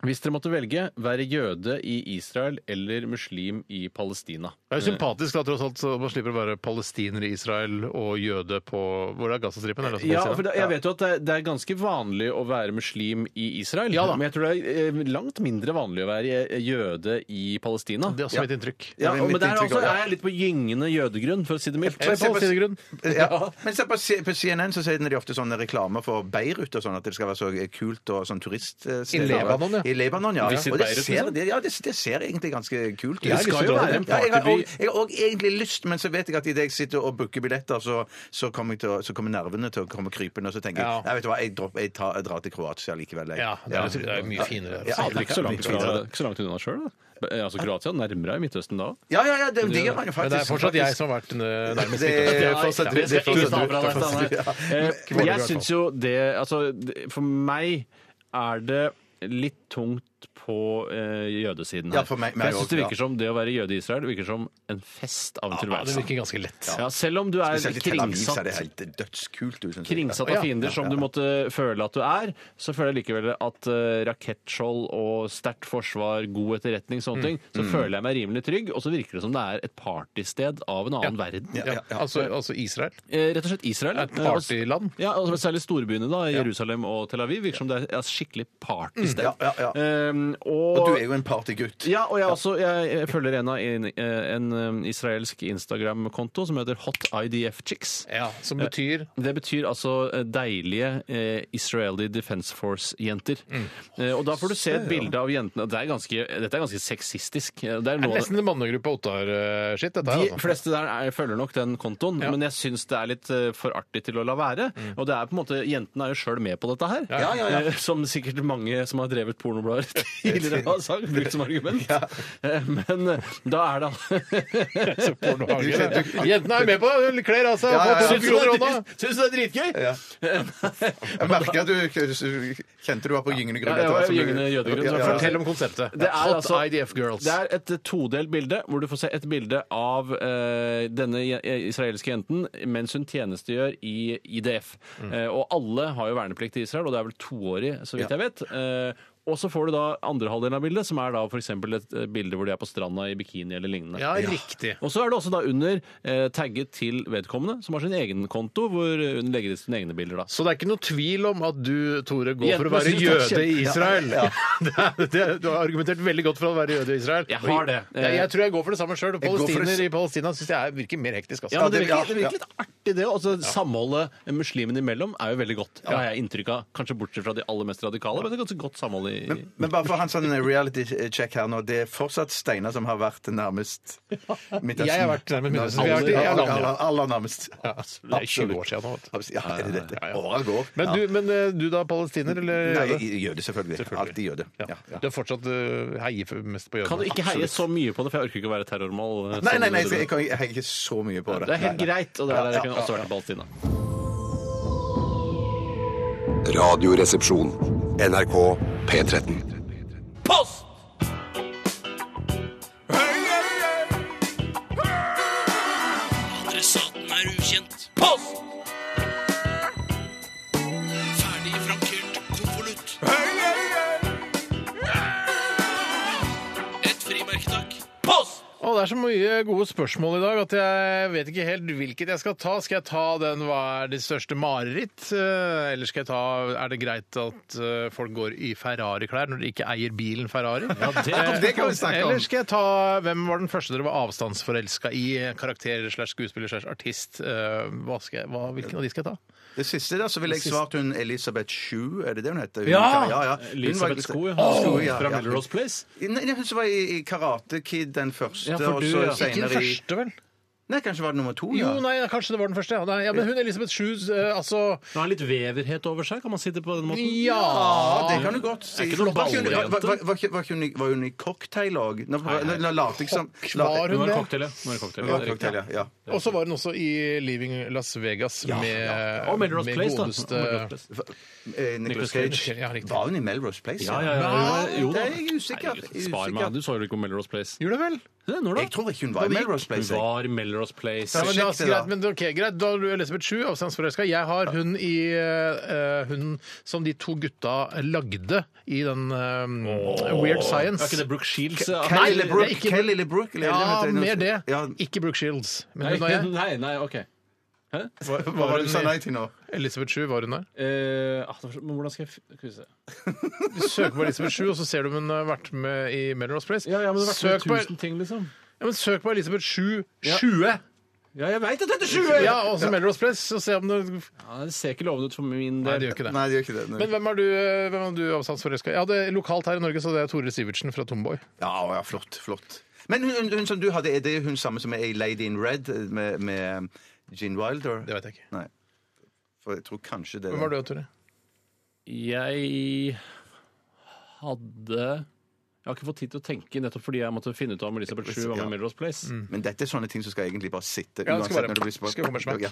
C: Hvis dere måtte velge, være jøde i Israel eller muslim i Palestina.
E: Det er jo sympatisk da, tross alt, så man slipper å være palestiner i Israel og jøde på Hvor er Gazastripen? Er det som
C: Ja,
E: Palestina?
C: for det, jeg vet jo at det, er- det er ganske vanlig å være muslim i Israel,
E: Ja da.
C: men jeg tror det er eh, langt mindre vanlig å være eh, jøde i Palestina.
E: Det er også mitt inntrykk.
C: Ja,
A: Det er
C: men
A: mitt
C: der
A: inntrykk
C: også
A: også, ja.
C: er jeg litt på gyngende jødegrunn, for å si det mildt.
E: Jeg ser på sidegrunn.
A: Ja. Men se på, C- på CNN så sier de ofte sånne reklamer for Beirut og sånn, at det skal være så kult og sånn turiststed.
E: I Lebanon, ja.
A: I Lebanon, ja.
C: Visit
A: Og det
C: Beirut,
A: ser,
C: liksom.
A: det, ja, det, det ser egentlig ganske kult ut.
E: Jeg har lyst til å dra dit.
A: Ja, jeg har og- jeg har òg egentlig lyst, men så vet jeg at idet jeg sitter og booker billetter, så, så, kommer jeg til, å- så kommer nervene til å komme krypende, og så tenker
E: Ja.
A: jeg nei, vet du hva, jeg, dropper, jeg, tar, jeg drar til Kroatia likevel. jeg».
E: Ja, det er, det er mye finere.
A: Ja,
E: der.
A: det er
C: Ikke så langt,
A: Ja,
C: fra, ikke så langt unna sjøl, da. Eh, Altså Kroatia nærmere i Midtøsten da.
A: Ja, ja, ja, det digger man jo
E: Men
A: faktisk.
E: det er fortsatt jeg som har vært eh, nærmest
A: Det-
E: Midtøsten.
A: Ja,
E: fortsatt-
A: ja, det skal
E: fortsatt-
A: ikke ta fra deg,
E: fortsatt-
C: Eh, Jeg syns jo det Altså, det- for meg er det litt tungt på eh, jødesiden her.
A: Ja, for meg- meg
C: jeg syns
A: også,
C: det
A: ja.
C: virker som det å være jøde i Israel virker som en fest av en
E: Ja, det
C: tilværelse.
E: virker ganske lett.
C: sånn. Ja, selv om du er
A: Spesielt i Tel Aviv så er det
C: kringsatt
A: helt dødskult. ut, synes jeg.
C: kringsatt
E: Ja,
C: av fiender
A: ja,
C: som
A: ja,
C: du
A: ja.
C: måtte føle at du er, så føler jeg likevel at eh, rakettskjold og sterkt forsvar, god etterretning,
A: Mm,
C: sånne ting, så føler jeg meg rimelig trygg, og så virker det som det er et partysted av en annen verden.
E: Ja, altså, altså Israel.
C: Eh, Rett og slett Israel.
E: Et partyland.
C: Ja, altså, særlig storbyene da, i Jerusalem og Tel Aviv, virker som det er et skikkelig partysted.
A: Mm, Ja, ja, ja.
C: Ehm,
A: Og du er jo en partygutt.
C: ja, og jeg, også, jeg, jeg følger en av en, en um, israelsk Instagram-konto som heter Hot IDF Chicks.
E: Ja, som betyr
C: Det betyr altså eh, deilige eh, Israeli Defense Force-jenter.
E: Mm.
C: Eh, og da får du se et bilde av jentene. og Det er ganske, dette er ganske sexistisk. Eh, Det er
E: Det er
C: noe av det-
E: nesten en mannegruppe Ottar-skitt, dette her.
C: de
E: altså.
C: fleste der er, følger nok den kontoen,
E: Ja. Mm.
C: men jeg syns det er litt eh, for artig til å la være. Og det er på en måte, jentene er jo sjøl med på dette her.
E: Ja,
C: Eh, Som sikkert mange som har drevet pornoblader tidligere har sagt, brukt som argument. Eh, Men eh, da er det
E: Så pornohage. Jentene er med på altså. det! Hun kler av seg og
A: Ja, ja, ja.
E: får 1000 kroner i hånda!
C: Syns du det er dritgøy?
A: Ja. Jeg merker at du kjente du var på gyngende grunn.
C: Ja, jeg var
A: etter hvert som du-
C: gyngende jødegrunn, så
A: Ja, ja, ja.
E: Fortell om konseptet.
C: Det er
E: Hot
C: altså-
E: IDF Girls.
C: Det er et eh, todelt bilde, hvor du får se et bilde av eh, denne je- eh, israelske jenten mens hun tjenestegjør i IDF.
E: Mm.
C: Eh, og alle har jo verneplikt i Israel, og det er vel toårig, så vidt
A: Ja.
C: jeg vet. Eh, og så får du da andre halvdelen av bildet, som er da f.eks. et eh, bilde hvor de er på stranda i bikini eller lignende.
E: Ja, riktig.
C: Og så er det også da under eh, tagget til vedkommende, som har sin egen konto, hvor hun legger ut sine egne bilder. da.
E: Så det er ikke noe tvil om at du, Tore, går for å
C: Jentene
E: være
C: synes det er
E: jøde i
C: kjempe-
E: Israel. Det er, det, er- du har argumentert veldig godt for å være jøde i Israel.
C: Jeg har det.
E: Og Jeg, jeg tror jeg går for det samme sjøl.
A: går for det-
E: Palestiner i Palestina syns jeg er- virker mer hektisk. Altså.
C: Ja, men det
A: Ja,
C: virker, det
A: ja.
C: virker litt artig, det òg. Altså, samholdet muslimene imellom er jo veldig godt. Det har jeg inntrykk av. Kanskje bortsett fra de aller mest radikale, men det er ganske godt samhold i
A: Men, men bare for hans sånn reality check her nå, det er fortsatt Steinar som har vært nærmest Midtøsten.
E: Jeg har vært nærmest Midtøsten. Vi har vært i-
A: Aller,
E: ja,
A: aller,
E: landet.
A: aller, aller nærmest.
E: altså, det er 20 år siden nå. vet du.
A: Absolutt. Ja, er det dette? Åra går.
E: Men
A: Ja.
E: du, men eh, du da, palestiner eller
A: Nei,
E: jøde?
A: jøde, selvfølgelig. Alltid jøde.
E: Ja.
A: Ja, ja.
E: Du er fortsatt eh, heier mest på jødene?
C: Kan du ikke heie så mye på det, for jeg orker ikke å være terrormål. eh,
A: Nei,
C: sånn
A: nei, nei,
C: du-
A: jeg, jeg, kan- jeg henger ikke så mye på det.
C: Det er helt
A: Nei, nei.
C: greit, og det er der jeg
A: Ja,
C: kunne
A: ja,
C: også
A: ja.
C: vært i Palestina.
D: Radioresepsjon. NRK P13.
F: Adressaten er ukjent. Post! Ferdig frankert konvolutt. Et frimerke, takk. Post!
E: Å, det er så mye gode spørsmål i dag at jeg vet ikke helt hvilket jeg skal ta. Skal jeg ta den 'Hva er ditt største mareritt'? Eh, Eller skal jeg ta 'Er det greit at eh, folk går i Ferrari-klær når de ikke eier bilen Ferrari'?
C: det-
E: Eh,
A: det kan vi snakke om.
E: Eller skal jeg ta 'Hvem var den første dere var avstandsforelska i'? Karakter slash skuespiller slash artist. Eh, Hva skal jeg, hva, hvilken av de skal jeg ta?
A: Det siste der, så ville jeg svart hun Elisabeth Shue, er det det hun heter? Hun,
E: Ja!
A: Hun var-
C: Elisabeth Sko, ja.
A: Åh,
C: Sko,
A: ja,
C: Fra
A: ja.
C: Melrose Place.
A: Nei, nei, hun som var i i Karate Kid, den første,
C: Ja, for
A: og
C: du,
A: så
C: ja.
A: senere i
E: vel?
A: Nei, kanskje var det nummer to,
E: Jo,
A: ja.
E: nei, kanskje det var den første. Ja, nei, ja, men hun Elisabeth Shoes, eh, altså
C: Hun har litt veverhet over seg, kan man si det på den måten?
A: Ja, det kan du godt si.
C: Er ikke noen
A: Var ikke hun-
C: ballejente?
A: var- var- var ikke- var ikke hun i- Var hun i cocktail òg? Nå
C: Nei, nei.
A: nå lot jeg som
E: Var
C: Nå
E: hun
C: er det
E: det?
C: cocktail, ja. Nå er det cocktail,
A: Ja,
C: ja. det er
A: cocktail,
C: riktig.
A: ja. ja.
E: Og så var hun også i Leaving Las Vegas med,
C: Og Melrose
E: med
C: Place, da.
E: godeste-
C: Og Melrose Place.
A: Eh, Nicolas Cage.
E: Ja, riktig.
A: Var hun i Melrose Place?
C: Ja, ja, ja. Jo
A: Det
C: da.
A: er jeg usikker.
C: Herregud, Spar meg. Du så jo ikke om Melrose Place.
E: Gjorde det vel?
C: Nei, Når da?
A: Jeg tror ikke hun var i Melrose Place.
C: Hun
A: jeg.
C: var i Melrose Place.
A: Ja, men
E: Ja,
A: riktig,
E: greit,
A: da.
E: men ok, greit. Da har du Elisabeth Schue, avstandsforelska. Jeg har hun i eh, Hun som de to gutta lagde i den eh, Weird Science.
C: Er ikke det Brooke Shields?
A: Kelly
C: Nei,
E: det er
A: LeBrook,
E: ikke-
A: Kelly LeBrook, eller-
E: Ja,
A: eller-
E: mer det.
A: Ja,
E: Ikke Brooke Shields. Men
C: Nei,
E: hun og jeg.
C: nei, nei, ok. Hæ?
A: hva, hva var det du sa nei til nå?
E: Elisabeth Schue, var hun der?
C: Eh, ah, det var så- men hvordan skal jeg f- skal vi se.
E: Du søker på Elisabeth Schue, og så ser du om hun har vært med i Melrose Place.
C: Ja, ja, men det har vært
E: søk, på,
C: med tusen ting, liksom.
E: ja, men søk på Elisabeth Schue
C: Ja.
E: 20!
C: Ja, jeg veit at dette er
E: Ja, og så Melrose Place, og se om du
C: Ja, det ser ikke lovende ut for min
E: Nei,
C: del.
E: det gjør ikke det.
A: Nei, det gjør ikke det. Nei.
E: Men hvem er du, eh, hvem er du avstandsforelska i? Ja, det er lokalt her i Norge, så det er Tore Sivertsen fra Tomboy.
A: Ja, ja, flott, flott. Men hun, hun, hun som du hadde, er det hun samme som er i Lady in Red eh, med, med um, Gene Wilder?
E: Det vet jeg ikke.
A: Nei. For jeg tror kanskje det
E: Hvem er du, Tore?
C: Jeg hadde Jeg har ikke fått tid til å tenke, nettopp fordi jeg måtte finne ut om Elisabeth Schue var med
A: Ja. Mm.
C: i Melrose Place.
A: Men dette er sånne ting som skal egentlig bare sitte.
E: Ja, det skal
A: uansett
E: være-
A: når du blir spurt.
E: skal komme smakk.
A: Ja.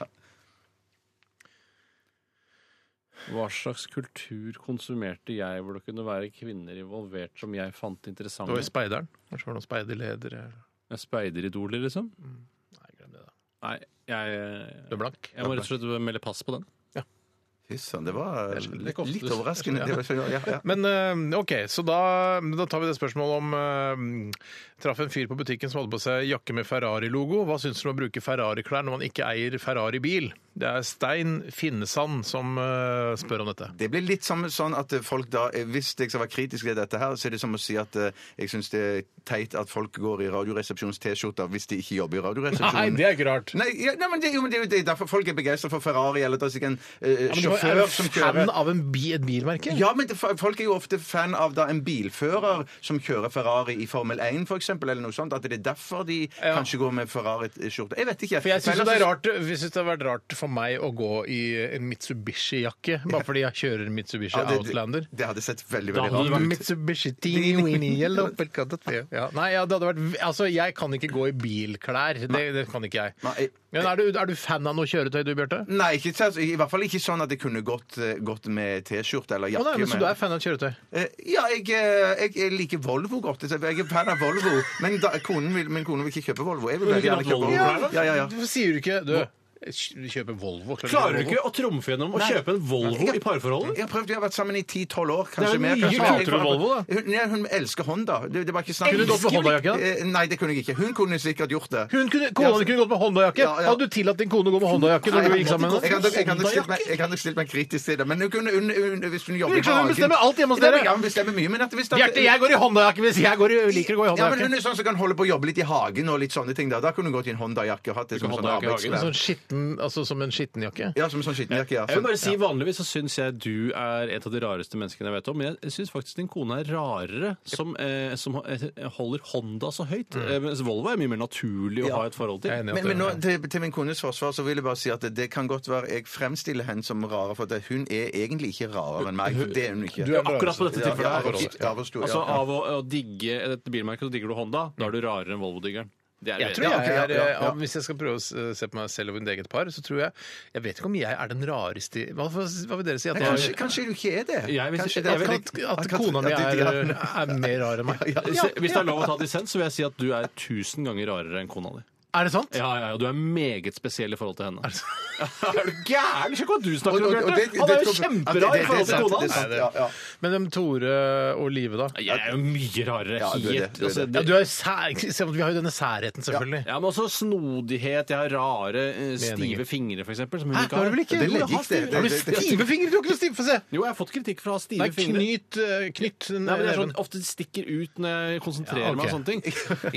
C: Hva slags kultur konsumerte jeg hvor det kunne være kvinner involvert som jeg fant
E: Du var
C: interessante?
E: i Speideren. Kanskje var det noen speiderleder? eller-
C: Jeg Speideridoler, liksom?
E: Nei, glem det, da.
C: Nei, jeg,
E: Du er blank.
C: jeg må rett og slett melde pass på den.
A: Fy søren, det var
E: Det er
A: litt,
C: ofte
A: litt
C: du-
A: overraskende. Det var- Ja, ja.
E: Men eh, OK, så da, da tar vi det spørsmålet om eh, Traff en fyr på butikken som hadde på seg jakke med Ferrari-logo. Hva syns du om å bruke Ferrari-klær når man ikke eier Ferrari-bil? Det er Stein Finnesand som eh, spør om dette.
A: Det blir litt som, sånn at folk da, Hvis jeg skal være kritisk til dette, her, så er det som å si at eh, jeg syns det er teit at folk går i Radioresepsjons-T-skjorter hvis de ikke jobber i Radioresepsjonen.
E: er ikke rart.
A: Nei, ja, nei, men det, jo, men det er jo det, er derfor folk er begeistra for Ferrari, eller at det er sikkert en eh,
E: Ja, men du er
A: sjåfør
E: jo
A: som
E: fan
A: kjører
E: av en bi, et bilmerke.
A: ja, men det, Folk er jo ofte fan av da en bilfører som kjører Ferrari i Formel 1 for eksempel, eller noe sånt. At det er derfor de
E: Ja.
A: kanskje går med Ferrari-skjorte. Jeg vet ikke.
E: For jeg syns
A: Men
E: det, er
A: ellers-
E: rart- jeg synes det har vært rart for meg å gå i en Mitsubishi-jakke, bare fordi jeg kjører Mitsubishi
A: Ja, det-
E: Outlander.
A: Det hadde sett veldig,
C: Da
A: veldig
C: hadde
A: rart
C: det vært-
E: Mitsubishi teeny weeny yellow polkadot. Ja. Nei, ja, det hadde vært Altså, jeg kan ikke gå i bilklær. Det, det kan ikke jeg.
A: Nei, jeg-
E: Men er du, er du fan av noe kjøretøy, du, Bjarte? Å,
A: Nei, ikke, altså, i hvert fall ikke sånn at jeg kunne gått, eh, gått med T-skjorte eller jakke.
E: nei, men, så
A: med-
E: du er fan av kjøretøy?
A: Eh, Ja, jeg, eh, jeg, jeg liker Volvo godt. så Jeg er fan av Volvo, men da, konen vil, min kone vil ikke kjøpe Volvo. Jeg vil veldig gjerne
C: kunne hatt
A: kjøpe Volvo.
C: Volvo-klær,
A: Ja, ja, ja.
E: Hvorfor sier du ikke Du, vi kjøper Volvo.
C: Klarer du ikke å trumfe gjennom å kjøpe en Volvo i parforholdet?
A: Jeg har prøvd, vi har vært sammen i 10-12 år, kanskje
C: jo
A: mer.
C: mye
A: kanskje.
C: kulere
A: Jeg var-
C: Volvo, da.
A: Hun, nei, hun elsker Honda. Det, det var ikke snakk
E: Kunne du gått med Honda-jakke, da?
A: Eh, Nei, det kunne jeg ikke. Hun kunne sikkert gjort det.
E: Hun kunne, kona di kunne gått med Honda-jakke!
A: Ja, ja.
E: Hadde du tillatt din kone å gå med Honda-jakke når du gikk sammen med
A: Jeg
E: henne?
A: hadde- jeg hadde stilt meg- jeg hadde stilt meg kritisk til det, men hun kunne, hun, hun, hvis hun jobber
E: Virker som hun bestemmer alt hjemme hos dere.
A: Ja, hun bestemmer mye, men at hvis at-
E: Bjarte, jeg går i Honda-jakke hvis jeg går i, liker å gå i
A: Ja, men
E: Honda-jakke.
A: hun er sånn som kan holde på å jobbe litt i hagen og litt sånne ting. Da, da kunne hun gått i en Honda-jakke og hatt det som en sånn
C: Honda-jakke i hagen,
A: arbeidsklær.
E: Sånn skitten, altså som en skittenjakke?
A: Ja, som en sånn skittenjakke. Ja.
C: Jeg vil
A: Sånn.
C: bare si Vanligvis så syns jeg du er et av de rareste menneskene jeg vet om. Men jeg syns faktisk din kone er rarere, som, eh, som eh, holder Honda så høyt. Eh, mens Volvo er mye mer naturlig å ha et forhold
E: Mm. Jeg
C: til.
E: er enig i at
A: Men, men
E: det-
A: nå, til, til min kones forsvar så vil jeg bare si at det, det kan godt være jeg fremstiller henne som rarere, for at hun er egentlig ikke rarere enn meg. For det er hun ikke.
E: Du er-
C: Akkurat på dette
A: Ja, ja,
C: tilfellet. her.
A: forholdet. Ja, forstå, ja.
C: Altså Av å, å digge et bilmerke, så digger du Honda. Da er du rarere enn Volvo-diggeren. Det er
E: Jeg
C: det.
E: tror jeg
A: ja,
E: er,
A: ja, ja.
E: ja, Hvis jeg skal prøve å s- se på meg selv og mitt eget par, så tror jeg Jeg vet ikke om jeg er den rareste i- Hva, hva vil dere si? At,
A: Nei,
E: jeg,
A: kanskje, kanskje du ikke er det.
C: Jeg vil si-
A: Kanskje det
E: at,
A: er-
E: at, at kona mi
A: ja,
E: er,
A: det- ja.
E: er mer rar enn meg.
C: Hvis hvis det er lov å ta dissens, så vil jeg si at du er tusen ganger rarere enn kona di.
E: Er det sant?
C: Ja, ja, ja, Du er meget spesiell i forhold til henne. Er du gæren? Sjekk hva du snakker om,
A: Og- og- og det-
C: Bjarte! Han er jo
A: det-
C: kjempebra
A: Ja, det-
C: i
A: det-
C: forhold
A: det er
C: til
A: sant,
C: kona
A: det er
C: hans!
A: sant, ja, ja.
E: Men hvem Tore og Live, da?
C: Jeg er jo mye rarere.
A: Ja, du er det,
C: Helt.
A: du er
C: Altså,
A: det.
E: Ja,
C: det-
E: du er sær, se, vi har jo denne særheten, selvfølgelig.
C: Ja, men også snodighet. Jeg har rare, eh,
E: Meninger.
C: stive fingre, for eksempel. Som hun
E: Hæ,
C: ikke
E: har du vel ikke?
A: Det legger
E: Jo, jeg har
A: ikke det.
E: stive- Har du
A: Det- det- det-
E: stive fingre? Du har ikke noe stive, få se!
C: Jo, jeg har fått kritikk for å ha stive
E: Nei,
C: fingre.
E: knyt, eh, knytt den
C: Nei, men det er sånn,
E: neven.
C: Ofte stikker ut når jeg konsentrerer
E: Ja, ok.
C: meg om sånne ting.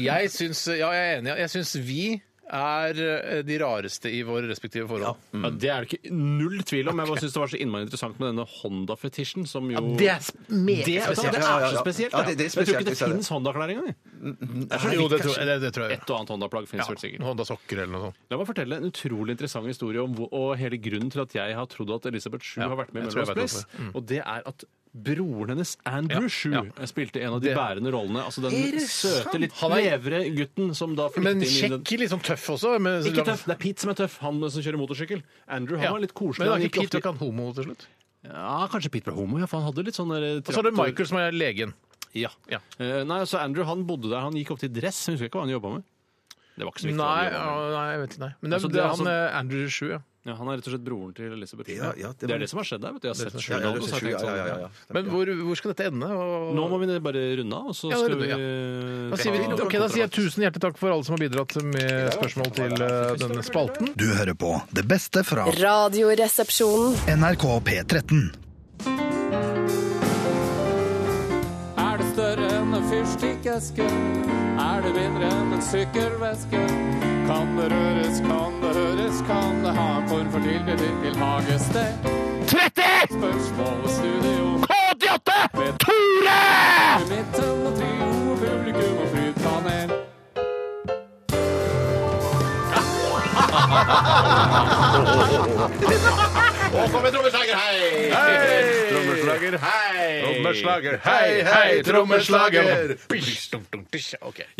E: Jeg syns Ja, jeg er enig. Jeg syns vi er eh, de rareste i våre respektive forhold.
C: Ja, det er det ikke null tvil om. Jeg bare syns det var så innmari interessant med denne Honda-fetisjen, som jo
E: Det er sp- meget
C: Det er-
E: spesielt.
C: Det
A: Ja, ja,
C: er så
A: ja.
C: spesielt.
A: Ja, det- det
C: jeg
A: er
C: tror ikke
A: spesielt, jeg
C: det
A: ser det.
C: fins Honda-klær engang. jeg.
E: Jo, det tror, det, det tror jeg.
C: Et og annet Honda-plagg fins vel
E: Ja,
C: sikkert.
E: Honda sokker eller noe sånt.
C: La meg fortelle en utrolig interessant historie om hvor, og hele grunnen til at jeg har trodd at Elisabeth Shue
E: Ja,
C: har vært med i
E: jeg tror jeg
C: Melrose
E: vet
C: Place. Og det er at Broren hennes, Andrew
E: Ja,
C: Shue,
E: ja.
C: spilte en av de
E: Det-
C: bærende rollene. Altså den søte, litt
E: Han er-
C: levre gutten som da flyttet
E: Men
C: inn i den
E: kjekk, litt sånn tøff også. men-
C: Ikke tøff, det er Pete som er tøff, han som kjører motorsykkel. Andrew han
E: Ja.
C: var litt koselig.
E: Men det
C: han
E: er
C: gikk
E: ikke Pete
C: ofte-
E: og kan homo til slutt.
C: Ja, kanskje Pete ble homo, ja, for han hadde litt sånn der,
E: Og så er det Michael som er legen.
C: Ja.
E: Ja.
C: Eh, nei, så Andrew han bodde der, han gikk opp til dress, jeg husker ikke hva han jobba med. Det var ikke så viktig. hva
E: Nei,
C: han, jobbet med.
E: ja, nei, jeg vet ikke. Nei. Men det,
C: Altså,
E: er-
C: det
E: det
C: er
E: er han
C: altså-
E: eh, Andrew Shue. Ja.
C: Ja, han er rett og slett broren til Elisabeth.
A: Ja, ja,
C: det,
A: det
C: er
A: var-
C: det som har skjedd der. vet du. Jeg har sett
A: Ja,
C: Shue
A: ja,
C: Douglas,
A: det
C: så
A: er
C: jeg
A: sju,
C: tenkte
A: ja, ja, ja,
C: sånn,
A: ja.
E: Men hvor, hvor skal dette ende? Og-
C: Nå må vi bare runde av, og så
E: Ja,
C: skal
E: runde,
C: vi
E: ja.
C: eh,
E: Da sier vi, ok, da sier jeg tusen hjertelig takk for alle som har bidratt med spørsmål til eh, denne spalten.
B: Du hører på det beste fra
G: Radioresepsjonen.
B: NRK P13.
H: Er det større enn en fyrstikkeske? Er det mindre enn en sykkelveske? Kan det røres, kan det høres, kan det ha en form for tilknytning til hagested? 30! Spørsmål og studio. K88! Tore! Midten og trio, publikum og flypanel.
E: Trommeslager, hei! Trommeslager, hei,
A: hei, trommeslager!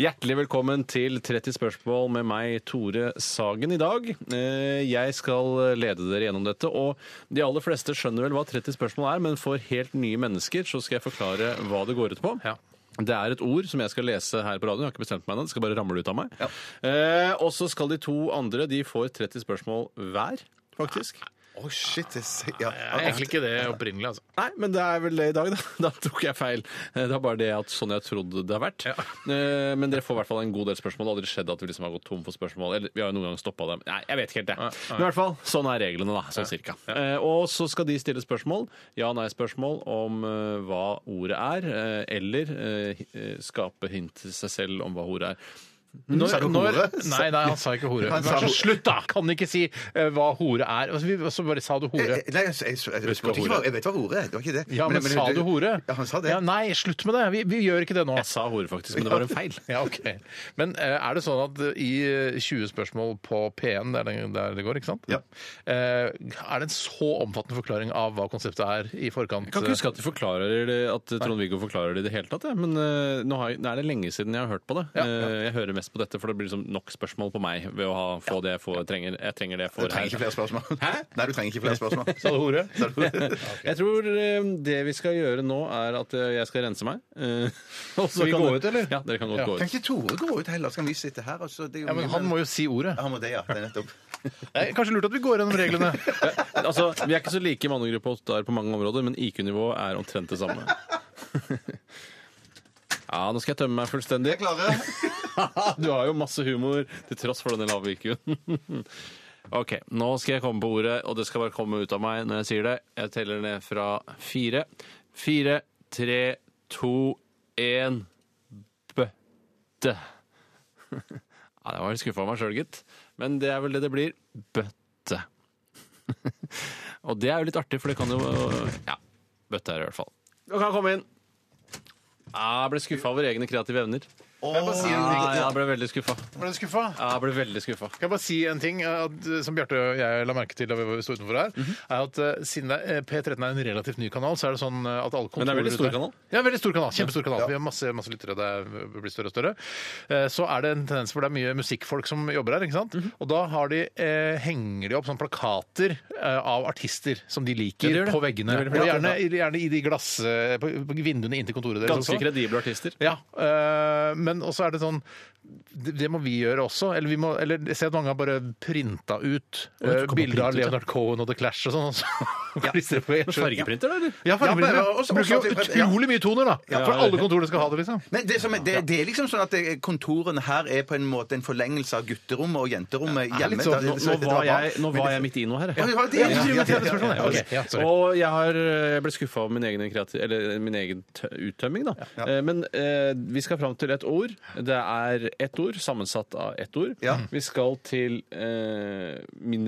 C: Hjertelig velkommen til 30 spørsmål med meg, Tore Sagen, i dag. Eh, Jeg skal lede dere gjennom dette, og de aller fleste skjønner vel hva 30 spørsmål er, men for helt nye mennesker så skal jeg forklare hva det går ut på.
E: Ja.
C: Det er et ord som jeg skal lese her på radioen. Jeg har ikke bestemt meg ennå. Det skal bare ramle ut av meg. Eh, og så skal de to andre de får 30 spørsmål hver, faktisk.
A: Å, shit. Det er, ja.
E: Det er egentlig ikke det opprinnelig, altså.
C: Nei, men det er vel det i dag, da. Da tok jeg feil. Eh, Det er bare det at sånn jeg trodde det har vært. Eh, Men dere får i hvert fall en god del spørsmål. Det har aldri skjedd at vi liksom har gått tom for spørsmål. Eller vi har jo noen gang stoppa dem. Nei, jeg vet ikke helt det. Men i hvert fall, sånn er reglene, da. Sånn cirka. Eh, Og så skal de stille spørsmål. Ja-nei-spørsmål om eh, hva ordet er. eh, Eller eh, hi- eh, skape hint til seg selv om hva ordet er.
E: Når,
A: Sa du
E: når,
A: hore?
E: nei, nei, han sa ikke hore.
A: Han sa
E: Vær så
A: hore.
E: slutt, da! Kan ikke si eh, hva hore er. Altså, vi, så bare sa du hore.
A: Eh, Nei, jeg, jeg, jeg, jeg,
C: Husker
A: spurte ikke
C: hore.
A: hva- jeg vet hva hore er. Det var ikke det.
E: Ja, men, sa du hore?
A: Ja, han sa det.
E: Ja, nei, slutt med det! Vi, vi gjør ikke det nå.
C: Jeg sa ordet, faktisk, men det var en feil.
E: Ja, ok. Men eh, er det sånn at eh, i eh, 20 spørsmål på P1, der det, der det går, ikke sant?
A: Ja.
E: Eh, er det en så omfattende forklaring av hva konseptet er i forkant? eh,
C: Jeg kan ikke huske at, de forklarer det, at Trond-Viggo forklarer det i det hele tatt, jeg. men eh, nå, har jeg, nå er det lenge siden jeg har hørt på det. Eh, Jeg hører mest på dette, for det blir liksom nok spørsmål på meg ved å ha, få det jeg får, trenger. Jeg trenger det jeg
A: Du
C: får
A: trenger ikke flere spørsmål. Nei, du trenger ikke flere spørsmål.
E: Sa du hore?
A: Sa du hore?
C: Jeg tror eh, det vi skal gjøre nå, er at eh, jeg skal rense meg. eh, og så
E: vi
C: kan
E: gå
C: dere-
E: ut, eller?
C: Ja, dere kan godt
E: Ja.
C: gå
A: Kan
C: ut.
A: ikke Tore gå ut heller? Så kan vi sitte her? Og så, det er jo
E: Ja, men han må jo si ordet.
A: Han må det, ja. Det er nettopp.
E: Det er kanskje lurt at vi går gjennom reglene.
C: Altså, vi er ikke så like i mannegruppe og der på mange områder, men IQ-nivået er omtrent det samme. Ja, nå skal jeg tømme meg fullstendig.
A: Jeg klarer
C: Du har jo masse humor til tross for denne lave IQ-en. OK, nå skal jeg komme på ordet, og det skal bare komme ut av meg når jeg sier det. Jeg teller ned fra fire. Fire, tre, to, én bøtte. Ja, det var litt skuffa av meg sjøl, gitt. Men det er vel det det blir. Bøtte. Og det er jo litt artig, for det kan jo Ja, bøtte er det i hvert fall. Du kan komme inn. Ja, Jeg ble skuffa over egne kreative evner.
E: Jeg bare si en ting.
C: Ja, jeg ble veldig skuffa.
E: Var du skuffa?
C: Ja, jeg ble veldig skuffa.
E: Kan jeg bare si en ting eh, at, eh, som Bjarte og jeg la merke til da vi var- sto utenfor her?
C: Mhm.
E: er at eh, Siden det, er- eh, P13 er en relativt ny kanal, så er det sånn eh, at alle kontorer
C: Men det er veldig stor
E: ute-
C: kanal.
E: Ja, veldig stor kanal. Kjempestor kanal. Vi har masse, masse lyttere. Det er- blir større og større. Eh, Så er det en tendens hvor det er mye musikkfolk som jobber her. ikke sant?
C: Mhm.
E: Og da har de, eh, henger de opp sånne plakater eh, av artister som de liker,
C: Ja, de gjør det.
E: på veggene.
C: Det er veldig
E: Og
C: flott,
E: gjerne, gjerne i de glass... eh, På, på vinduene inntil kontoret deres. sånn.
C: Ganske
E: også.
C: kredible artister.
E: Ja, øh, men også er det sånn det, det må vi gjøre også. Eller, vi må, eller jeg ser at mange har bare printa ut
C: du
E: øh,
C: kan
E: bilder
C: printe
E: av
C: ut, ja.
E: Leonard Cohen og The Clash og sånn. og så klistrer på et skjørt.
C: Fargeprinter, da, eller?
E: Ja, fargeprinter.
A: Ja, men også-
E: Bruker jo
A: også-
E: utrolig mye toner, da.
C: Ja,
E: For
C: ja,
E: alle
C: ja.
E: kontorer skal ha det, liksom.
A: Men det, som er, det, det er liksom sånn at det- kontorene her er på en måte en forlengelse av gutterommet og jenterommet hjemme.
E: litt sånn.
A: Det-
C: Nå,
A: det-
C: nå,
A: det- det
C: var
A: bra.
C: jeg, nå var jeg midt i noe her.
A: Ja,
C: jeg.
A: det var det. sånn-
E: Ja, ja, ja, ja, ja, ja.
A: Ok.
E: Ok, ja, sorry.
C: og jeg har eh, ble skuffa over min egen, kreati- eller min egen tø- uttømming, da. Eh, Men eh, vi skal fram til et ord. Det er ett ord, sammensatt av ett ord.
A: Ja.
C: Vi skal til eh,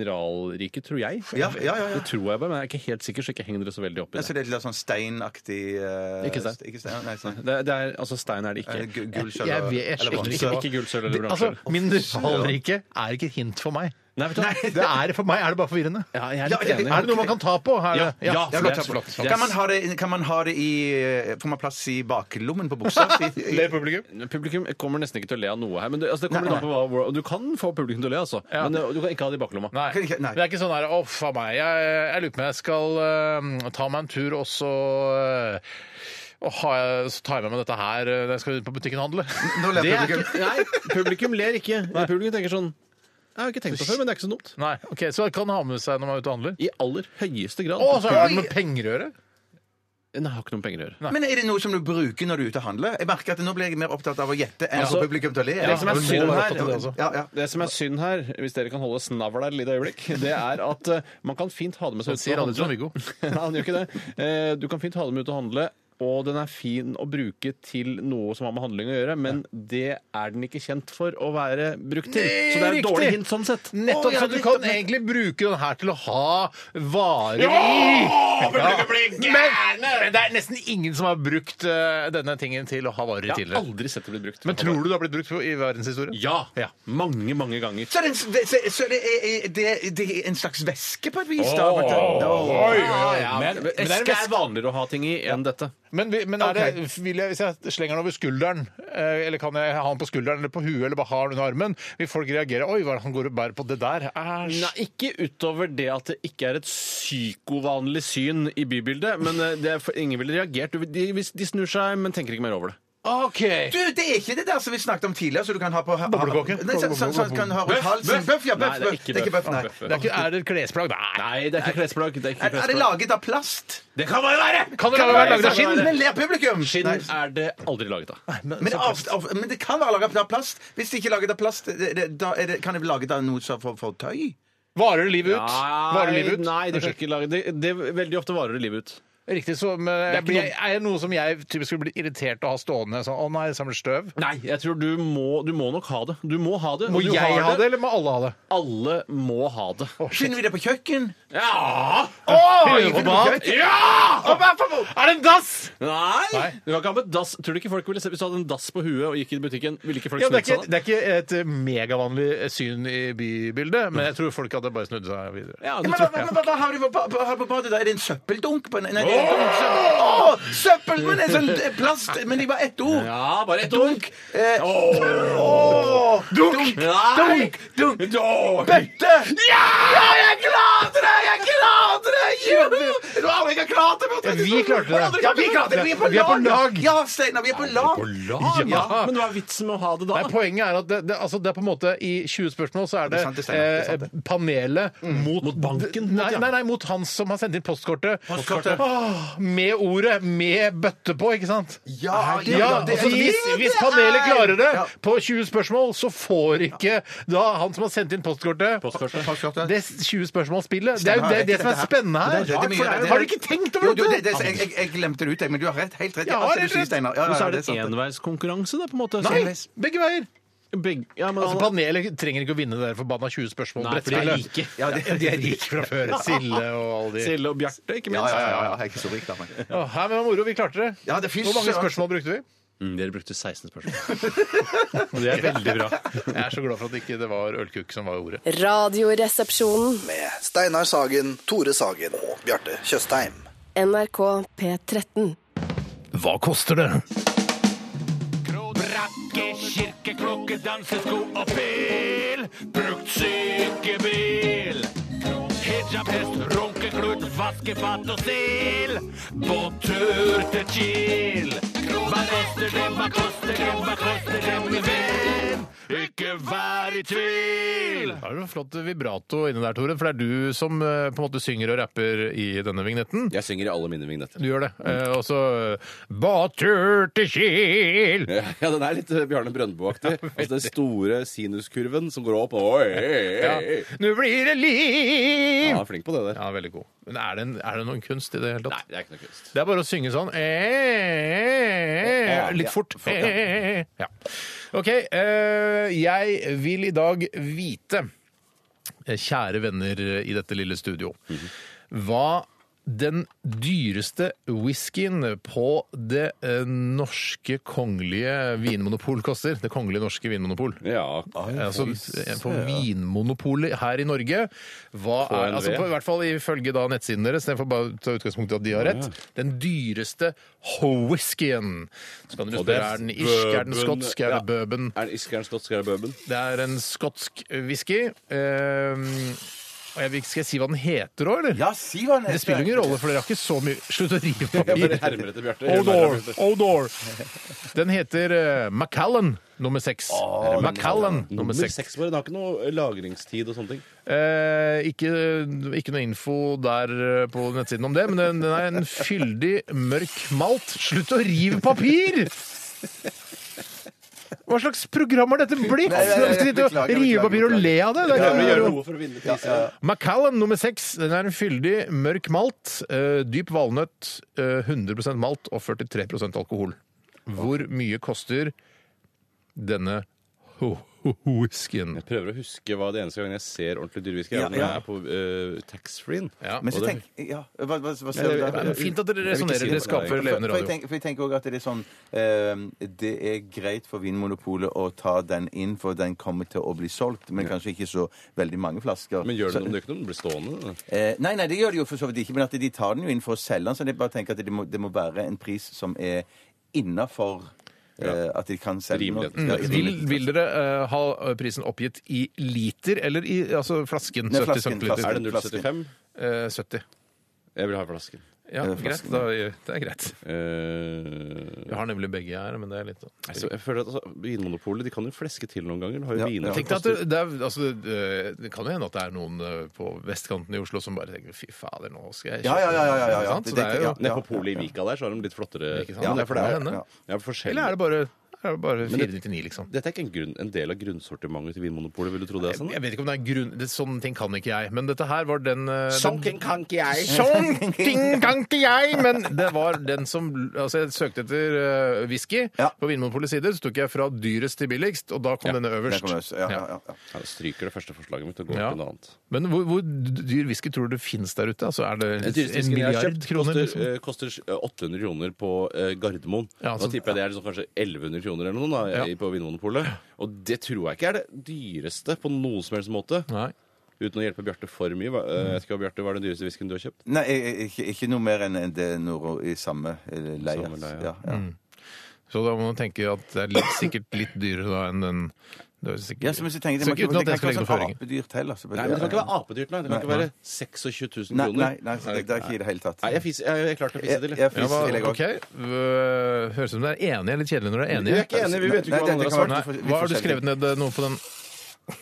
C: mineralriket, tror jeg.
A: Ja, ja, ja, ja.
C: Det tror jeg bare, men jeg er ikke helt sikker, så ikke heng dere så veldig opp i
A: Altså,
C: det.
A: det er litt sånn steinaktig eh,
C: Ikke stein.
A: Ikke stein, nei, stein.
C: Det, det er, altså, stein er det
A: Eh,
C: ikke.
A: gu- Gull, sølv
E: Jeg
A: og-
E: vet
A: eller
E: ikke-
A: bronse.
C: Ikke gullsølv eller
E: Altså,
C: bransje.
E: mineralriket er ikke et hint for meg.
C: Nei, vet du hva?
E: Det er, for meg er det bare forvirrende.
C: Ja, jeg er litt
A: Ja, ja,
C: enig.
E: Er det noe man kan ta på? Er
C: Ja,
E: det-
C: ja,
A: Ja,
C: det
A: godt,
C: er
A: flott.
C: flott.
A: Kan man, ha det, kan man ha det i eh, Får man plass i baklommen på buksa?
E: Ler publikum?
C: Publikum kommer nesten ikke til å le av noe her. Men det, altså, det kommer litt an på hva, hvor- Du kan få publikum til å le, altså.
E: Ja.
C: Men eh, du kan ikke ha det i baklomma.
E: Nei.
A: Kan ikke- nei.
E: Det er ikke sånn her Å, faen meg. Jeg, jeg lurer på om jeg skal eh, ta meg en tur, og så eh, og ha, så tar jeg med meg dette her eh, når jeg skal ut på butikken og handle.
A: Nå ler
C: Det er
A: publikum.
C: ikke, nei, publikum ler ikke. Publikum tenker sånn Jeg har ikke tenkt på det før, men det er ikke så dumt.
E: Nei, ok, Så jeg kan ha med seg når man er ute og handler.
C: I aller høyeste grad.
E: Å, så er det med penger å gjøre?
C: Nei, jeg har ikke noe med penger å gjøre.
A: Men er det noe som du bruker når du er ute og handler? Jeg merker at Nå blir jeg mer opptatt av å gjette enn å
C: Altså,
A: få publikum til å le.
C: det som er
A: Ja,
C: synd altså.
A: må
C: her-
A: være opptatt av det også. ja, ja.
C: Det som er synd her, hvis dere kan holde snavla et lite øyeblikk, det er at eh, man kan fint ha det med seg
E: Det sier
C: og
E: aldri
C: handle.
E: Trond-Viggo.
C: Nei, han gjør ikke det. Eh, Du kan fint ha den med ut og handle. Og den er fin å bruke til noe som har med handling å gjøre, men det er den ikke kjent for å være brukt til. Så det er et
E: Riktig.
C: dårlig hint sånn sett.
E: Nettopp,
C: Å, ja,
E: så du kan egentlig bruke den her til å ha varer i. Ja. Men, men det er nesten ingen som har brukt eh, denne tingen til å ha varer
C: Jeg
E: i
C: har
E: tidligere.
C: aldri sett det bli brukt.
E: Men tror du det har blitt brukt i verdenshistorien?
C: Ja! Mange, mange ganger.
A: Så, det, så, det- så det, er, det, det er en slags væske, på et vis? da?
C: Åh.
A: Åh.
C: Men, men eske er vanligere å ha ting i enn dette.
E: Men, vi- men er det, vil jeg, hvis jeg slenger den over skulderen, eh, eller kan jeg ha den på skulderen eller på huet, eller bare ha den under armen, vil folk reagere 'oi, hva er det han går og bærer på det der'? Æsj.
C: Nei, ikke utover det at det ikke er et psykovanlig syn i bybildet. Men eh, det er for, ingen ville reagert. Du- De, hvis de snur seg, men tenker ikke mer over det.
E: OK!
A: Du, det er ikke det der som vi snakket om tidligere, så du kan ha på ha-
E: Boblekåke?
A: Nei, så- Sånn som du kan ha rundt halsen.
C: Bøff?
A: Bøff, ja.
C: Nei,
A: Bøff.
C: det er
A: bøff.
C: ikke
A: Det er ikke
C: bøff.
A: bøff, nei.
E: Det er ikke, er det et klesplagg? Nei.
C: Nei, det er ikke klesplagg. Det er ikke
A: Er, er det
C: klesplagg.
A: laget av plast?
C: Det kan være verre!
E: Kan det være laget av skinn?
A: Men ler publikum!
C: Skinn
A: Nei.
C: er det aldri laget av.
A: Men, av, av, men det kan være laget av plast. Hvis det ikke er laget av plast, det, det, da er det, kan det bli laget av noe som for, for tøy?
E: Varer livet ut? Varer livet ut?
C: Nei, det kan ikke lage det, det er Veldig ofte varer det livet ut.
E: Riktig, så men,
C: er
E: jeg
C: ikke
E: blir,
C: noe-
E: er det noe som jeg typisk skulle bli irritert av å ha stående? Sånn, 'Å nei, det samler støv'.
C: Nei, jeg tror du må, du må nok ha det. Du må ha det.
E: Må
C: og du
E: jeg
C: har
E: ha det, eller må alle ha det?
C: Alle må ha det.
A: Finner vi det på kjøkken?
C: Ja!
E: Finner du på mat? Er det en dass?!
C: Nei!
E: Nei.
C: Du kan ikke ha med dass. Tror du ikke folk ville se, Hvis du hadde en dass på huet og gikk inn i butikken, ville ikke folk
E: Ja, det, er
C: snudd seg
E: ikke,
C: da?
E: det er ikke et eh, megavanlig syn i bybildet, men jeg tror folk hadde bare snudd seg videre.
C: Ja,
A: Ja,
C: du
A: men hva,
C: tror-
A: hva, hva, hva har du på, ba- har du på badet? da? Er det en søppeldunk? På en, nei, det er en søppel, Åh, søppel! Men en sånn eh, plast Men det var ett ord.
C: ja, bare et dunk.
A: Eh, åh, dunk!
C: Nei!
A: Dunk! Dunk!
C: Dunk.
A: Bøtte! Ja! jeg klarte det! Jeg klarte det! Juhu! Jeg tror aldri jeg har klart det. men jeg
E: Ja, vi
A: tenkte sånn,
E: klarte det.
A: Ja, vi klarte det. Vi er på
E: Vi er på
A: lag.
E: lag.
A: Ja, Steinar, vi er på lag.
E: Ja.
C: Men hva er vitsen med å ha det da?
E: Nei, poenget er at det, det, altså det er på en måte i 20 spørsmål så er det,
A: er sant, det stemmer, det er sant,
E: eh, panelet mot,
C: Mot banken, mot-
E: Nei,
C: ja.
E: nei, nei, mot han som har sendt inn postkortet.
A: Postkortet.
E: Åh, med ordet 'med bøtte' på, ikke sant?
A: Ja, det,
E: Ja,
A: det,
E: altså, hvis, hvis panelet klarer det
A: Ja.
E: på 20 spørsmål, så får ikke da han som har sendt inn postkortet
A: Postkortet.
E: Det 20 spørsmål-spillet. Det er jo
A: Stemmer,
E: det, det
A: rett,
E: som er
A: dette her.
E: spennende her.
A: Det er veldig mye,
E: For det er-
A: det er-
E: har du ikke tenkt
A: Jo,
E: over
A: jo, det,
E: dette?!
A: det, altså, jeg, jeg, jeg glemte det ut, jeg, men du har rett, helt rett i
E: Ja,
A: alt det
E: helt
A: du sier,
E: rett.
A: Steinar. Ja,
C: Men Altså, så
A: ja,
C: er det
A: sant,
C: en enveiskonkurranse, da, på en måte.
E: Nei,
C: Sånn-
E: begge veier.
C: Begge, ja, men
E: Altså,
C: han-
E: Panelet trenger ikke å vinne det der forbanna 20 spørsmål.
C: Nei, for de er
E: brettspillet.
C: rike.
E: Ja, de, de er rike fra før. Sille og alle de.
C: Sille og Bjarte, ikke
A: Ja,
C: minst.
A: ja, ja, ja, jeg er ikke så rik, da. Men.
E: Å, her, men det var moro, vi klarte det.
A: Ja, det er fy
E: Hvor mange
A: søren.
E: spørsmål brukte vi?
C: Mm, dere brukte 16 spørsmål.
E: Det er veldig bra. Jeg er så glad for at ikke det var ølkuk som var ordet.
G: Radioresepsjonen.
B: Med Steinar Sagen, Tore Sagen og Bjarte Tjøstheim.
G: NRK P13.
E: Hva koster det?
I: Brakke, kirke, klokke, dansesko og pil. Brukt sykebil. Hijab, hest, runkeklut, vaskefat og stil. Båttur til Kiel. Hva koster det, hva koster det, hva koster det, min venn? Ikke vær i tvil!
E: Da er det en flott vibrato inne der, Tore, for det er du som eh, på en måte synger og rapper i denne vignetten.
C: Jeg synger i alle mine vignetter.
E: Du gjør det. Eh, Og så eh, Båttur til Kiel!
C: Ja, den er litt eh, Bjarne Brøndbo-aktig. Altså den store sinuskurven som går opp. Oi,
E: Ja.
C: oi, oi.
E: Nå blir det liv!
C: Ja, han er flink på det der.
E: Ja, veldig god. Men er det, en, er det noen kunst i det hele
C: Nei,
E: tatt?
C: det er ikke noe kunst.
E: eh, Det er bare å synge sånn eh, Litt fort. Eh, ja. OK. eh, jeg vil i dag vite, eh, kjære venner i dette lille studio, hva den dyreste whiskyen på det eh, norske kongelige vinmonopol koster. Det kongelige norske vinmonopol.
J: Ja.
E: Altså, på Vinmonopolet her i Norge hva er, altså, på, I hvert fall ifølge da nettsiden deres, jeg får bare ta utgangspunkt i at de har rett, den dyreste ho-whiskyen. Så kan dere
J: Og det
E: spørre,
J: er
E: er den irsk, er den
J: bourbon-
E: skotsk, er det
J: ja.
E: bourbon?
J: Er det iskeren skotsk, er det bourbon?
E: Det er en skotsk whisky. Ehm, og jeg, vil- skal jeg si hva den heter òg, eller?
A: Ja, si hva han
E: Det spiller jo ingen rolle, for dere har ikke så mye Slutt å rive
J: bare
E: papir.
J: hermer etter Bjarte.
E: Odor! Odor! Den heter eh, Macallan nummer seks. Macallan nummer
J: Nummer
E: seks.
J: seks bare. Den har ikke noe eh, lagringstid og sånne ting.
E: Eh, ikke, ikke noe info der eh, på nettsiden om det, men den, den er en fyldig, mørk malt. Slutt å rive papir! Hva slags program har dette blitt?
A: Nei, nei, nei,
E: Skal du sitte og
A: beklager,
E: rive
A: beklager,
E: papir og le av det? det er ikke,
J: Gjøre noe for å vinne prisen.
E: Macallan nummer seks. Den er en fyldig, mørk malt. eh, dyp valnøtt. eh, 100 malt og 43 alkohol. Hvor mye koster denne ho- ho- ho- whiskyen?
J: Jeg prøver å huske hva det eneste gangen jeg ser ordentlig dyrewhisky, er
A: Ja,
J: når
A: ja.
J: jeg er på uh, taxfree-en.
E: Ja.
A: Men så
J: Og det-
A: tenk, ja, hva, hva, hva
J: Ja,
A: ser
J: det-
A: du
J: det
A: der?
E: er fint at dere
A: Jeg vil ikke
E: resonerer,
A: si
E: dere
A: det.
E: skaper
A: For-
E: levende
A: for jeg
E: radio.
A: tenker- For jeg tenker også at det er sånn eh, Det er greit for Vinmonopolet å ta den inn, for den kommer til å bli solgt, men kanskje ikke så veldig mange flasker.
J: Men gjør det
A: Så-
J: noe om det ikke noe om den blir stående? da?
A: Eh, nei, nei, det gjør de jo for så vidt ikke, men at de tar den jo inn for å selge den. Så jeg bare tenker at det må, det må være en pris som er innafor eh, at de kan selge den.
J: Rimelig.
A: Ja,
E: Mm. Vil, vil dere eh, ha prisen oppgitt i liter eller i altså flasken?
A: Nei,
E: 70
A: flasken,
E: centiliter.
A: flasken.
J: Er det 0,75?
E: Eh, 70.
J: Jeg vil ha flasken.
E: Ja,
A: Eh,
E: greit.
A: flasken.
E: Da, det er greit.
J: Eh,
E: Jeg har nemlig begge her, men det er litt sånn.
J: altså, jeg føler at altså, Vinmonopolet de kan jo fleske til noen ganger. De har jo
A: Ja,
J: viner
A: ja.
J: som
E: Tenk deg at
J: koster-
E: det, det, er, altså, eh, det kan jo hende at det er noen eh, på vestkanten i Oslo som bare tenker 'fy fader, nå skal jeg
A: Ja, ja, ja, ja, ja, ja, ja.
E: Ikke sant? Så det er jo,
A: Ja,
J: Nede på polet i Vika der så har de litt flottere
E: Ikke sant? Det er for det er henne.
J: Ja, forskjellig.
E: Eller er det bare, er det bare
J: Men det-
E: 499, liksom?
J: Dette er ikke en, grunn, en del av grunnsortimentet til Vinmonopolet, vil du tro det er sånn?
E: Jeg vet ikke om det er grunn... Det, sånne ting kan ikke jeg. Men dette her var den, eh,
J: Sånn
E: den
J: kan ikke jeg!
E: Sånn ting kan ikke jeg! Men det var den som Altså, jeg søkte etter eh, whisky
A: Ja.
E: på Vinmonopolets sider, så tok jeg fra dyrest til billigst, og da kom denne
A: Der
E: øverst.
A: kommer det. Ja, ja, ja, ja.
J: Ja, jeg stryker det første forslaget mitt og går
E: Ja.
J: til noe annet.
E: Men hvor, hvor dyr whisky tror du finnes der ute? Altså, er det
J: Den dyreste
E: en
J: whiskyen jeg har
E: milliard
J: kjøpt,
E: kroner?
J: koster,
E: Liksom?
J: eh, koster eh, 800 kroner på eh, Gardermoen.
E: Ja, altså-
J: da tipper jeg det er liksom kanskje 1100 kroner eller noe da,
E: Ja.
J: i- på Vinmonopolet. Og det tror jeg ikke er det dyreste på noen som helst måte.
E: Nei.
J: Uten å hjelpe Bjarte for mye. hva- eh, Jeg vet ikke hva Bjarte, hva er den dyreste whiskyen du har kjøpt?
A: Nei, jeg- jeg- ikke, ikke noe mer enn det Noro i samme eh, leie.
J: Samme leie.
A: Ja, ja.
E: Så da må man tenke at det er litt, sikkert litt dyrere da enn den det er sikkert,
A: Ja, så, men så tenker jeg,
E: Så
A: man
E: ikke-
A: kan-
E: uten at jeg
A: det
E: skal
A: kan
E: legge noen
A: ikke være sånn
E: føringer.
A: apedyrt heller. så-
J: Nei, men Det kan ikke være apedyrt, nei. Det kan ikke være 26 000
A: Nei,
J: kroner.
A: nei, nei, så det, det er ikke i det hele tatt.
J: Nei, jeg, fis, jeg, jeg klarte å fisse til. jeg.
A: Jeg- jeg
E: ja, hva,
A: Vil gå?
E: OK. Øh, Høres ut som dere er enige. Litt kjedelig når dere er
J: Vi
E: enige.
J: er ikke enige, vi vet jo
A: Nei,
J: ikke hva
A: det-
J: andre
A: det kan
J: har svart.
A: være-
E: Nei,
A: Vi får- vi
E: hva
A: får
E: har du
A: skjelve.
E: skrevet ned eh, noe på den?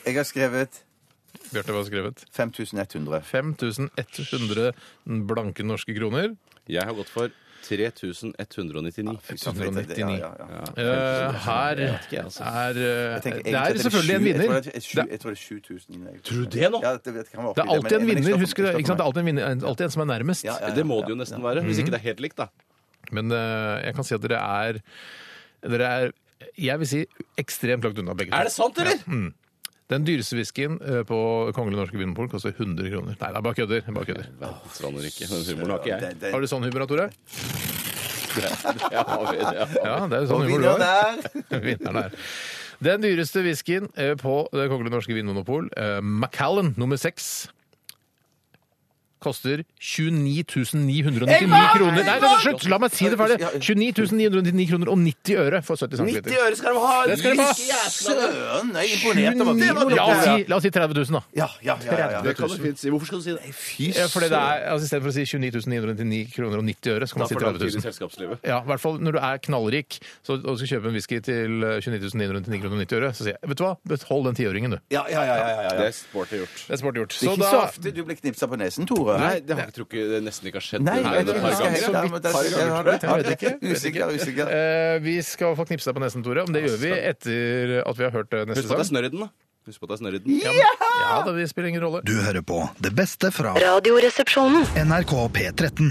A: Jeg har skrevet
E: Bjarte, hva har du skrevet?
A: 5100.
E: 5100 blanke norske kroner.
J: Jeg har gått for 3199.
A: Fy søren, for et- Ja, ja, ja.
E: Eh, her er
J: altså.
E: eh,
A: altså. Jeg tenker
E: Det
A: egentlig at
E: er selvfølgelig en
A: sju-
E: vinner.
A: Jeg tror det er sju- jeg tror det er 7000. jeg-
J: Tror du det nå?
A: Ja, det, det kan være
E: Det er
A: oppi
E: alltid
A: men-
E: en
A: men jeg
E: vinner.
A: stopper-
E: Husk det. ikke
A: jeg
E: sant? Det
A: stopper
E: er alltid en, vinner, alltid en som er nærmest.
A: Ja, ja, ja,
J: Det må det jo
A: ja,
J: nesten
A: ja.
J: være, hvis ikke det er helt likt, da.
E: Men eh, jeg kan si at dere er Dere er jeg vil si ekstremt langt unna begge to. Mm.
J: sant, eller?
E: Den dyreste whiskyen eh, på Kongelig Norske Vinmonopol koster 100 kroner. Nei, det er bare kødder. det er Bare kødder.
J: Verdensland og ikke. Den humoren har ikke jeg.
A: Det- det-
E: Har du sånn humor, da, Tore?
J: Jeg har- jeg har-
E: Ja, det er jo sånn
A: Og
E: humor du har.
A: vinneren er
E: Vinneren er. Den dyreste whiskyen eh, på Det kongelige norske vinmonopol, eh, Macallan nummer seks, koster 29 999 kroner. Nei, nei, slutt! La meg si det ferdig. 29 999 kroner og 90 øre for 70 cm.
J: 90 øre skal de ha!
E: Det skal de ha.
A: Søren, jeg er imponert over vinneren.
E: La oss si, la oss si 30 000, da.
A: Ja, ja, ja, ja, ja.
J: Det kan du fint si. Hvorfor skal du si det?
A: Fy
E: Eh, Fordi det er, altså, I stedet for å si 29 999 kroner og 90 øre, så kan
J: Da
E: man si
J: får du
E: 30
J: tid i
E: 000.
J: selskapslivet.
E: Ja, i hvert fall når du er knallrik så, og skal kjøpe en whisky til eh, 29 999 kroner og 90 øre, så sier jeg vet du hva, behold den tiøringen, du.
A: Ja, ja, ja, ja, ja,
J: Det
A: ja.
J: er sporty gjort.
E: Det er smart gjort.
A: Det er ikke så ofte du blir knipsa på nesen, Tore.
J: Nei, det har jeg tror ikke det nesten ikke har skjedd.
A: Nei,
J: Det er
A: jeg
J: det
A: tror jeg
J: et par
A: skal
J: ganger.
A: helt ærlig, men det er- jeg har- jeg har det ikke. Usikker, usikker.
E: Eh, vi skal få knipse deg på nesen, Tore. Men det gjør vi etter at vi har hørt eh, neste
J: Husk på at det er
E: sang.
J: snørr i den, da. Husk på at det er snørr i den. Ja,
E: Ja, da, det spiller ingen rolle.
K: Du hører på det beste fra
G: Radioresepsjonen.
K: NRK P13.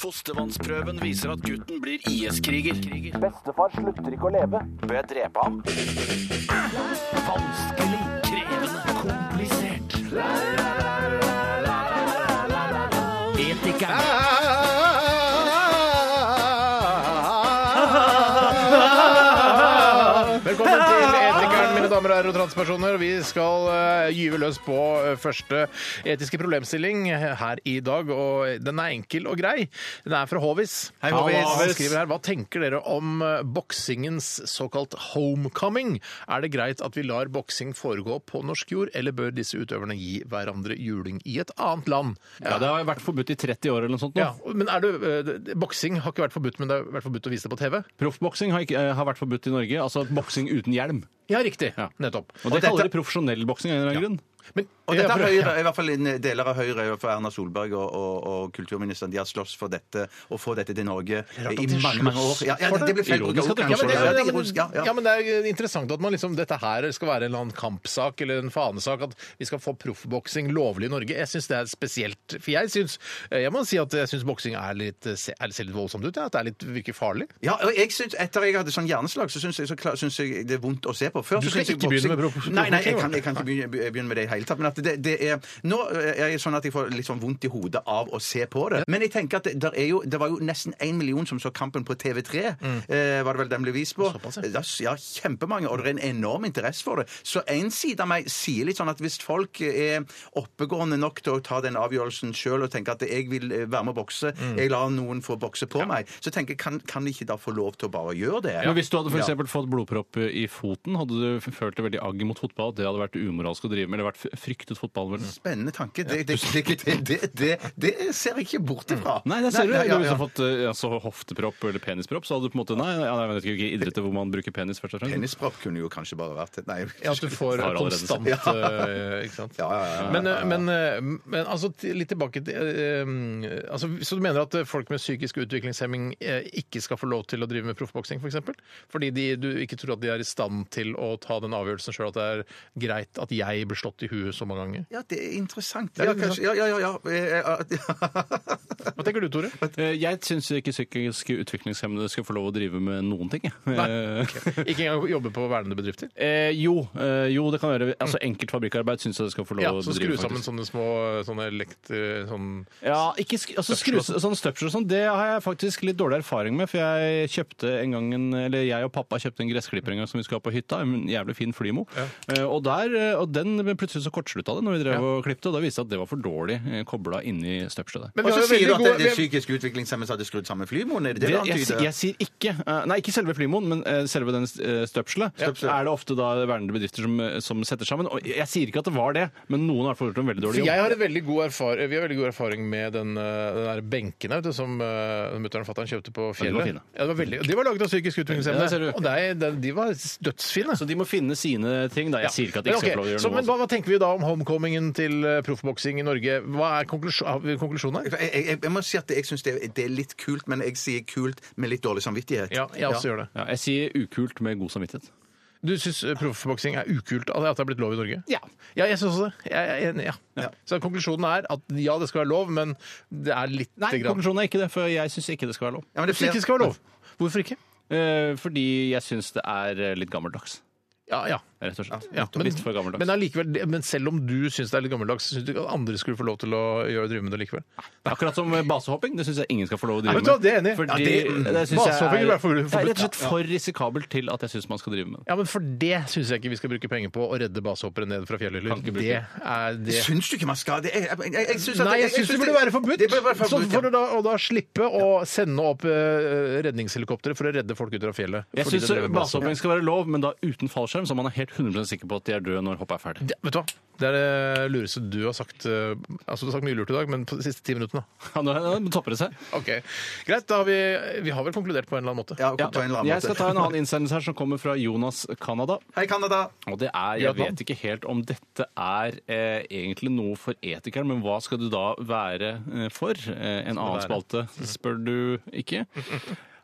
F: Fostervannsprøven viser at gutten blir IS-kriger. Bestefar slutter ikke å leve. Bør jeg drepe ham? Vanskelig, krevende, komplisert. Etikeren.
E: Velkommen til Etikeren, mine damer og herrer og transpersoner. Vi skal eh, gyve løs på eh, første etiske problemstilling her i dag, og den er enkel og grei. Den er fra Håvis.
A: Hei, Håvis.
E: Han skriver her, hva tenker dere om eh, boksingens såkalt homecoming? Er det greit at vi lar boksing foregå på norsk jord, eller bør disse utøverne gi hverandre juling i et annet land?
C: Ja, Det har vært forbudt i 30 år eller noe sånt nå.
E: Ja, men er du, eh, Boksing har ikke vært forbudt, men det har vært forbudt å vise det på TV?
C: Proffboksing har, ikke- eh, har vært forbudt i Norge. Altså boksing uten hjelm.
E: Ja, riktig.
C: Ja.
E: Nettopp.
C: Og det kaller de profesjonell boksing av en eller annen grunn.
E: Men,
A: Og dette er
E: Ja,
A: Høyre, i hvert fall en deler av Høyre, for Erna Solberg og, og, og kulturministeren, de har slåss for dette, og få dette til Norge
E: at
A: i
E: de
A: mange, mange år. Ja, ja,
E: for det.
A: det, det ble feil
C: Ironisk at de
E: Ja, men, det,
A: kanskje.
E: er-
A: Ja, det er ironisk, ja, ja.
E: ja, men det er interessant at man liksom, dette her skal være en eller annen kampsak eller en fanesak. At vi skal få proffboksing lovlig i Norge. Jeg syns det er spesielt. For jeg syns Jeg må si at jeg syns boksing er litt, eh, er det ser litt voldsomt ut. Ja, at det er litt, virker farlig.
A: Ja, og jeg synes, Etter jeg hadde sånn hjerneslag, så syns jeg, så klar- syns jeg det er vondt å se på. Før,
E: Du
A: så
E: skal
A: syns jeg
E: ikke begynne
A: boksing-
E: med proff-
A: Nei, nei, jeg
E: proffboksing,
A: kan, jeg kan ikke begynne, begynne med det i det hele tatt. Men at det, det er, nå er jeg sånn at jeg får litt sånn vondt i hodet av å se på det. Men jeg tenker at det, der er jo, det var jo nesten én million som så kampen på TV3, eh, var det vel den ble vist på.
E: Mm. Såpass, ja.
A: Da s- ja, kjempemange, og det er en enorm interesse for det. Så en side av meg sier litt sånn at hvis folk er oppegående nok til å ta den avgjørelsen sjøl og tenke at jeg vil eh, være med å bokse,
C: Mm.
A: jeg lar noen få bokse på meg, så tenker jeg kan, kan de ikke da få lov til å bare gjøre det?
C: Men hvis du hadde for
A: Ja.
C: eksempel fått blodpropp i foten, hadde du f- følt deg veldig agg mot fotball? Det hadde vært umoralsk å drive med, eller vært f- fryktet fotballen vel?
A: Spennende tanke. Det, det, det, det, det, det, det ser jeg ikke bort ifra.
C: Mm. Nei, det ser du.
A: Nei, ja,
C: Hvis du
A: ja.
C: hadde fått eh, altså, hoftepropp eller penispropp, så hadde du på en måte Nei, ja, jeg vet ikke hvilke idretter hvor man bruker penis først og fremst.
A: Tennispropp kunne jo kanskje bare vært Nei.
E: Ja, at du får
C: Har allerede
E: konstant
A: sett.
E: eh, Ikke sant.
A: Ja, ja, ja, ja,
E: Men,
A: ja,
E: eh,
A: ja.
E: men, eh, men altså, til- litt tilbake til eh, eh, altså, Så du mener at eh, folk med psykisk utviklingshemming eh, ikke skal få lov til å drive med proffboksing, f.eks.? For eksempel? Fordi de, du ikke tror at de er i stand til å ta den avgjørelsen sjøl, at det er greit at jeg blir slått i huet så mange ganger?
A: Ja, det er interessant.
E: er
A: Ja,
E: interessant.
A: kanskje, ja, ja, ja, ja. Eh, ja.
E: Hva tenker du, Tore?
C: Eh, Jeg syns ikke psykisk utviklingshemmede skal få lov å drive med noen ting. jeg. Eh,
E: Ikke engang jobbe på vernede bedrifter?
C: Eh, jo, eh, jo, det kan være altså, enkelt fabrikkarbeid syns jeg det skal få lov
E: Ja,
C: å
E: så
C: drive.
E: skru sammen
C: faktisk.
E: sånne små sånne elekt... eh, Sånn
C: Ja, ikke sk altså,
E: Støpsel og
C: skru, sånn støpsel og sånn, det har jeg faktisk litt dårlig erfaring med. For jeg kjøpte en gang en, eller jeg og pappa kjøpte en gressklipper en gang som vi skulle ha på hytta. En jævlig fin Flymo. Eh, og, der, eh, og den men plutselig så kortslutta det når vi drev og klippte, og da viste det seg at det var for dårlig eh, kobla inni støpselet der.
E: Men
A: Og så sier du at det,
E: gode-
A: det er psykisk utviklingshemmede som hadde skrudd sammen flymoen? Er det det
C: Det,
A: du
C: jeg, si-
A: antyder?
C: jeg sier ikke eh, Nei, ikke selve flymoen, men eh, selve den eh, støpselet. Er det ofte da vernede bedrifter som, eh, som setter sammen? Og jeg sier ikke at det var det, men noen har i hvert fall gjort en veldig dårlig
E: For
C: jobb.
E: jeg har et veldig god erfar vi har veldig god erfaring med den, eh, den der benken her, vet du, som uh, mutter'n og fatter'n kjøpte på
C: de var
E: fjellet.
C: fine.
E: Ja, de var, veldig, de var laget av psykisk
C: Ja, det ser du.
E: utviklingshemmede. og de, de, de var dødsfine.
C: Så de må finne sine ting, da. Jeg sier ikke at de ikke
E: Men ok,
C: skal få lov å gjøre
E: så,
C: noe. altså.
E: men hva, hva tenker vi da om homecomingen til eh, proffboksing i Norge? Hva er konklusjon, har vi konklusjonen her?
A: Jeg, jeg, jeg må si at jeg syns det, det er litt kult, men jeg sier kult med litt dårlig samvittighet.
E: Ja, jeg også gjør det.
C: Ja, jeg sier ukult med god samvittighet.
E: Du syns eh, proffboksing er ukult at det har blitt lov i Norge?
C: Ja.
E: Ja, jeg syns også det. Jeg, jeg, er enig, ja. Så konklusjonen er at ja, det skal være lov, men det er litt
C: Nei,
E: grann.
C: konklusjonen er ikke det, for jeg syns ikke det skal være lov.
A: Ja, men det
E: Du
A: er
E: syns ikke det
A: flere,
E: skal være lov? Hvorfor ikke?
C: Eh, fordi jeg syns det er eh, litt gammeldags,
E: Ja, ja.
C: rett og slett.
E: Ja, men,
C: litt for gammeldags.
E: men, allikevel, det- men selv om du syns det er litt gammeldags, syns du ikke at andre skulle få lov til å gjøre drive med det likevel?
C: Akkurat som eh, basehopping. Det syns jeg ingen skal få lov å
E: Ja,
C: drive
E: vet du hva, det er jeg enig i.
C: Fordi,
E: Ja, det-
C: det syns
E: Basehopping
C: jeg
E: vil
C: er,
E: være for-
C: det er rett og slett
E: forbudt.
C: for risikabelt til at jeg syns man skal drive med det.
E: Ja, men for det syns jeg ikke vi skal bruke penger på å redde basehoppere ned fra fjellhyller.
C: Kan ikke bruke
E: Det er det.
A: Syns du ikke man skal det? Jeg, jeg, jeg, jeg syns at-
E: Nei, jeg
A: jeg- jeg
E: syns det
A: syns
E: burde være forbudt.
A: Det burde være
E: Så
A: forbudt,
E: får du
A: ja.
E: da, og da slippe å sende opp eh, redningshelikoptre for å redde folk ut fra fjellet.
C: Jeg
E: fordi
C: syns
E: de driver med
C: basehopping skal være lov, men da uten fallskjerm, så man er helt 100 sikker på at de er døde når hoppet er ferdig.
E: Det, vet du hva? Det er det lureste du har sagt. eh, Altså, du har sagt mye lurt i dag, men på de siste ti minuttene.
C: Ja, nå nå topper det seg.
E: Ok, Greit, da har vi, vi har vel konkludert på en eller annen måte.
A: Ja, på en eller annen
C: Jeg skal
A: måte.
C: ta en annen innsendelse her som kommer fra Jonas Canada.
A: Hei, Canada.
C: Og det er, Jeg
E: Vietnam.
C: vet ikke helt om dette er eh, egentlig noe for etikeren, men hva skal du da være eh, for? Eh, en annen spalte spør du ikke.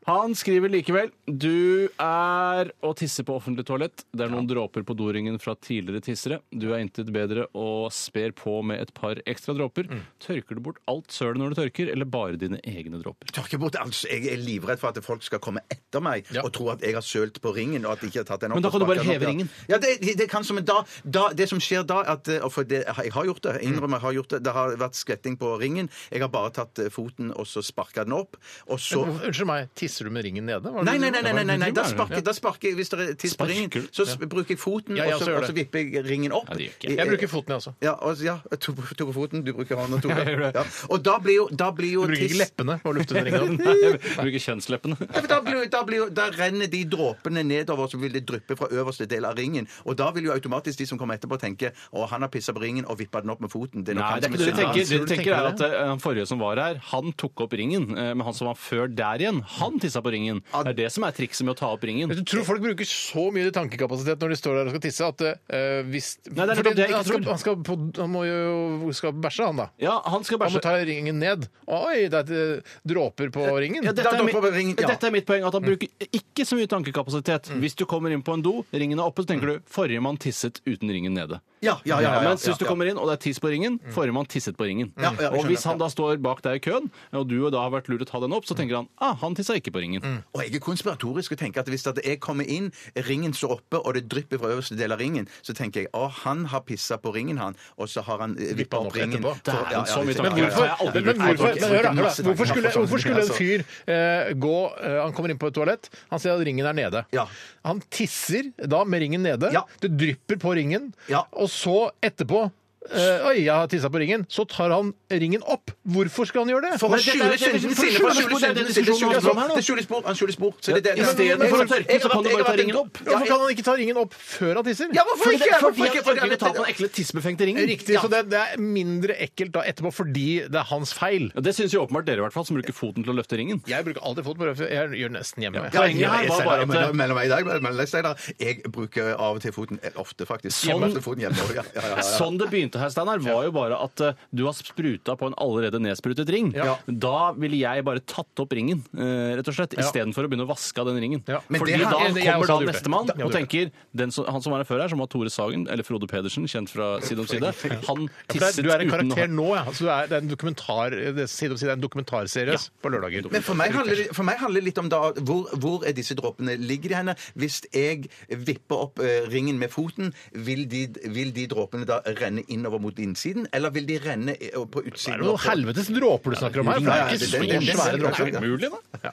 C: Han skriver likevel Du er å tisse på offentlig toalett. Det er noen dråper på doringen fra tidligere tissere. Du er intet bedre og sper på med et par ekstra dråper.
E: Mm.
C: Tørker du bort alt sølet når du tørker, eller bare dine egne dråper?
A: Tørke bort alt. altså, Jeg er livredd for at folk skal komme etter meg og tro at jeg har sølt på ringen. og at jeg ikke har tatt den opp.
C: Men da
A: og
C: kan du bare
A: sparket den opp,
C: heve
A: ja.
C: ringen.
A: Ja, det, det- det kan som da, da Det som skjer da, at, eh, og for det, jeg har gjort det, jeg innrømmer jeg har gjort det, det har vært skvetting på ringen. Jeg har bare tatt eh, foten og så sparka den opp, og så
E: Unnskyld meg, tisser du med ringen nede? Hva er det
A: Nei,
E: du-
A: nei, nei, nei, nei, nei, nei. da
E: Ja.
A: sparker, da sparker jeg Hvis det er tiss på
C: Sparker
A: ringen,
C: du?
A: så s- bruker jeg foten,
E: Ja, ja,
A: og,
E: så
A: så,
E: gjør
A: og
E: det.
A: så vipper jeg ringen opp.
C: Ja, det gjør ikke jeg.
E: Jeg bruker foten, jeg også.
A: Ja, og, ja jeg tok, tok foten, du bruker hånda, Tore. Ja. Og da blir jo, da blir jo
E: Du bruker
A: tiss-
E: ikke leppene for å lufte den ringen?
C: Nei, jeg bruker kjønnsleppene.
A: Ja, for da, blir, da, blir, da renner de dråpene nedover, så vil det dryppe fra øverste del av ringen. Og da vil jo automatisk de som kommer etterpå, tenke å, han har pissa på ringen og vippa den opp med foten. Det er nok
C: Nei,
A: han
C: det er
A: som
C: ikke det du tenker. Det du
E: Tror
A: synd.
E: du
C: tenker er
E: tenker
C: at eh, Han forrige som var her, han tok opp ringen. eh, Men han som var før der igjen, han tissa på ringen. Det er det som er trikset med å ta opp ringen.
E: Du tror folk bruker så mye tankekapasitet når de står der og skal tisse, at eh, hvis
C: Nei, det er
E: Fordi
C: nettopp det jeg ikke
E: han, skal,
C: tror.
E: han, skal på, han må jo skal bæsje, han da.
C: Ja, han skal
E: Han må
C: bæsje.
E: ta ringen ned. Oi, det er eh, dråper på ringen.
C: Ja, dette,
A: Da
C: er
A: dropper
C: mitt,
A: vi ringen, ja. Mm.
C: dette er mitt poeng, at han bruker ikke så mye tankekapasitet. Hvis du kommer inn på en do, ringen er oppe, så tenker du 'forrige mann tisset uten ringen nede'.
A: Ja, ja, ja, ja, ja,
C: Mens hvis du
A: ja. Mm.
C: kommer inn og det er tiss på ringen, 'forrige mann tisset på ringen'.
A: Ja, ja, jeg
C: og hvis han
A: skjønner, ja. Mm.
C: da står bak deg i køen, og du da har vært lurt å ta den opp, så tenker han 'ah, han tissa ikke på ringen'.
A: Og jeg er konspiratorisk og tenker at hvis at jeg kommer inn, ringen står oppe, og det drypper fra øverste del av ringen, så tenker jeg å, han har pissa på ringen, han, og så har han vippa
E: han
A: opp
E: opp
A: ringen.
E: etterpå.
A: For-
C: Dæven, så mye
E: Men
A: ja,
C: tanker.
A: ja, ja.
E: hvorfor,
C: aldri
E: men
C: brukt
E: hvorfor,
A: det.
E: men hør da, hør da.
A: Masse tanker.
E: hvorfor, skulle,
A: Masse
E: hvorfor skulle en
A: tanker,
E: fyr eh, gå eh, Han kommer inn på et toalett, han ser at ringen er nede.
A: Ja.
E: Han tisser da med ringen nede,
A: Ja.
E: det drypper på ringen,
A: Ja.
E: og så etterpå eh, Oi, jeg har tissa på ringen. Så tar han ringen opp. Hvorfor skal han gjøre det?
A: For å
E: Men dette er-
A: skjule syndene sine! for å skjule
C: Det er den
A: syndene sine, det
C: diskusjonen
A: skjules
C: handler om
A: spor,
C: her nå.
A: Det skjules spor! Han skjules spor! Så det er
C: Ja,
A: det-
C: i stedet
A: Jeg har
C: for å
A: vært-
C: tørke,
A: jeg har
C: så kan
A: vært-
C: du bare ta
A: jeg har vært en
C: ringen opp.
A: dopp.
E: Hvorfor kan han ikke ta ringen opp før han tisser?
A: Ja, hvorfor
C: Fordi,
A: ikke?
C: det- fordi
A: Hvorfor
C: at
A: ikke? Fordi at
C: fargene tar på den
A: det-
C: ekle tissebefengte ringen.
E: Riktig, så det, det er mindre ekkelt da etterpå fordi det er hans feil.
C: Ja, Det syns jo åpenbart dere, i hvert fall, som bruker foten til å løfte ringen.
E: Jeg bruker alltid fot på røven. Jeg gjør nesten hjemme.
C: Ja, Poenget her var bare at-
A: Mellom- mellom meg i dag, mellom deg, Steinar. Jeg bruker av og til foten eh, ofte, faktisk.
C: Sånn.
A: Hjemme, ofte foten hjemme også, ja. Ja, ja, ja, ja.
C: Sånn det begynte her, Steinar, var jo bare at eh, du har spruta på en allerede nedsprutet ring.
E: Ja.
C: Da ville jeg bare tatt opp ringen, eh, rett og slett, istedenfor å begynne å vaske av den ringen.
E: Ja. Men
C: Fordi
A: det her-
C: da
E: jeg- jeg
C: kommer
E: også
C: da
E: hadde gjort det.
C: nestemann
E: Da- jeg
C: og
E: hadde
C: tenker den som, Han som var her før her, som var Tore Sagen, eller Frode Pedersen, kjent fra Side om side, han
E: Ja, for det er-
C: tisset
E: du er en
C: uten å
E: karakter
C: ha
E: nå, ja. Altså, du er, det er en dokumentar, det er side om side, det er en dokumentarserie
C: Ja.
E: på lørdager.
A: Men for meg handler, det- for meg handler det litt om da, hvor, hvor er disse dråpene? Ligger de henne? Hvis jeg vipper opp eh, ringen med foten, vil de, vil de dråpene da renne innover mot innsiden, eller vil de renne eh, på
E: Det er
A: utsiden?
E: noen helvetes dråper du snakker om her. for
A: Ja, ja,
E: Det
A: det-
E: er
A: det-
E: ikke
A: det-
E: så svære
A: det- det-
E: dråper.
A: det-
C: Mulig, da.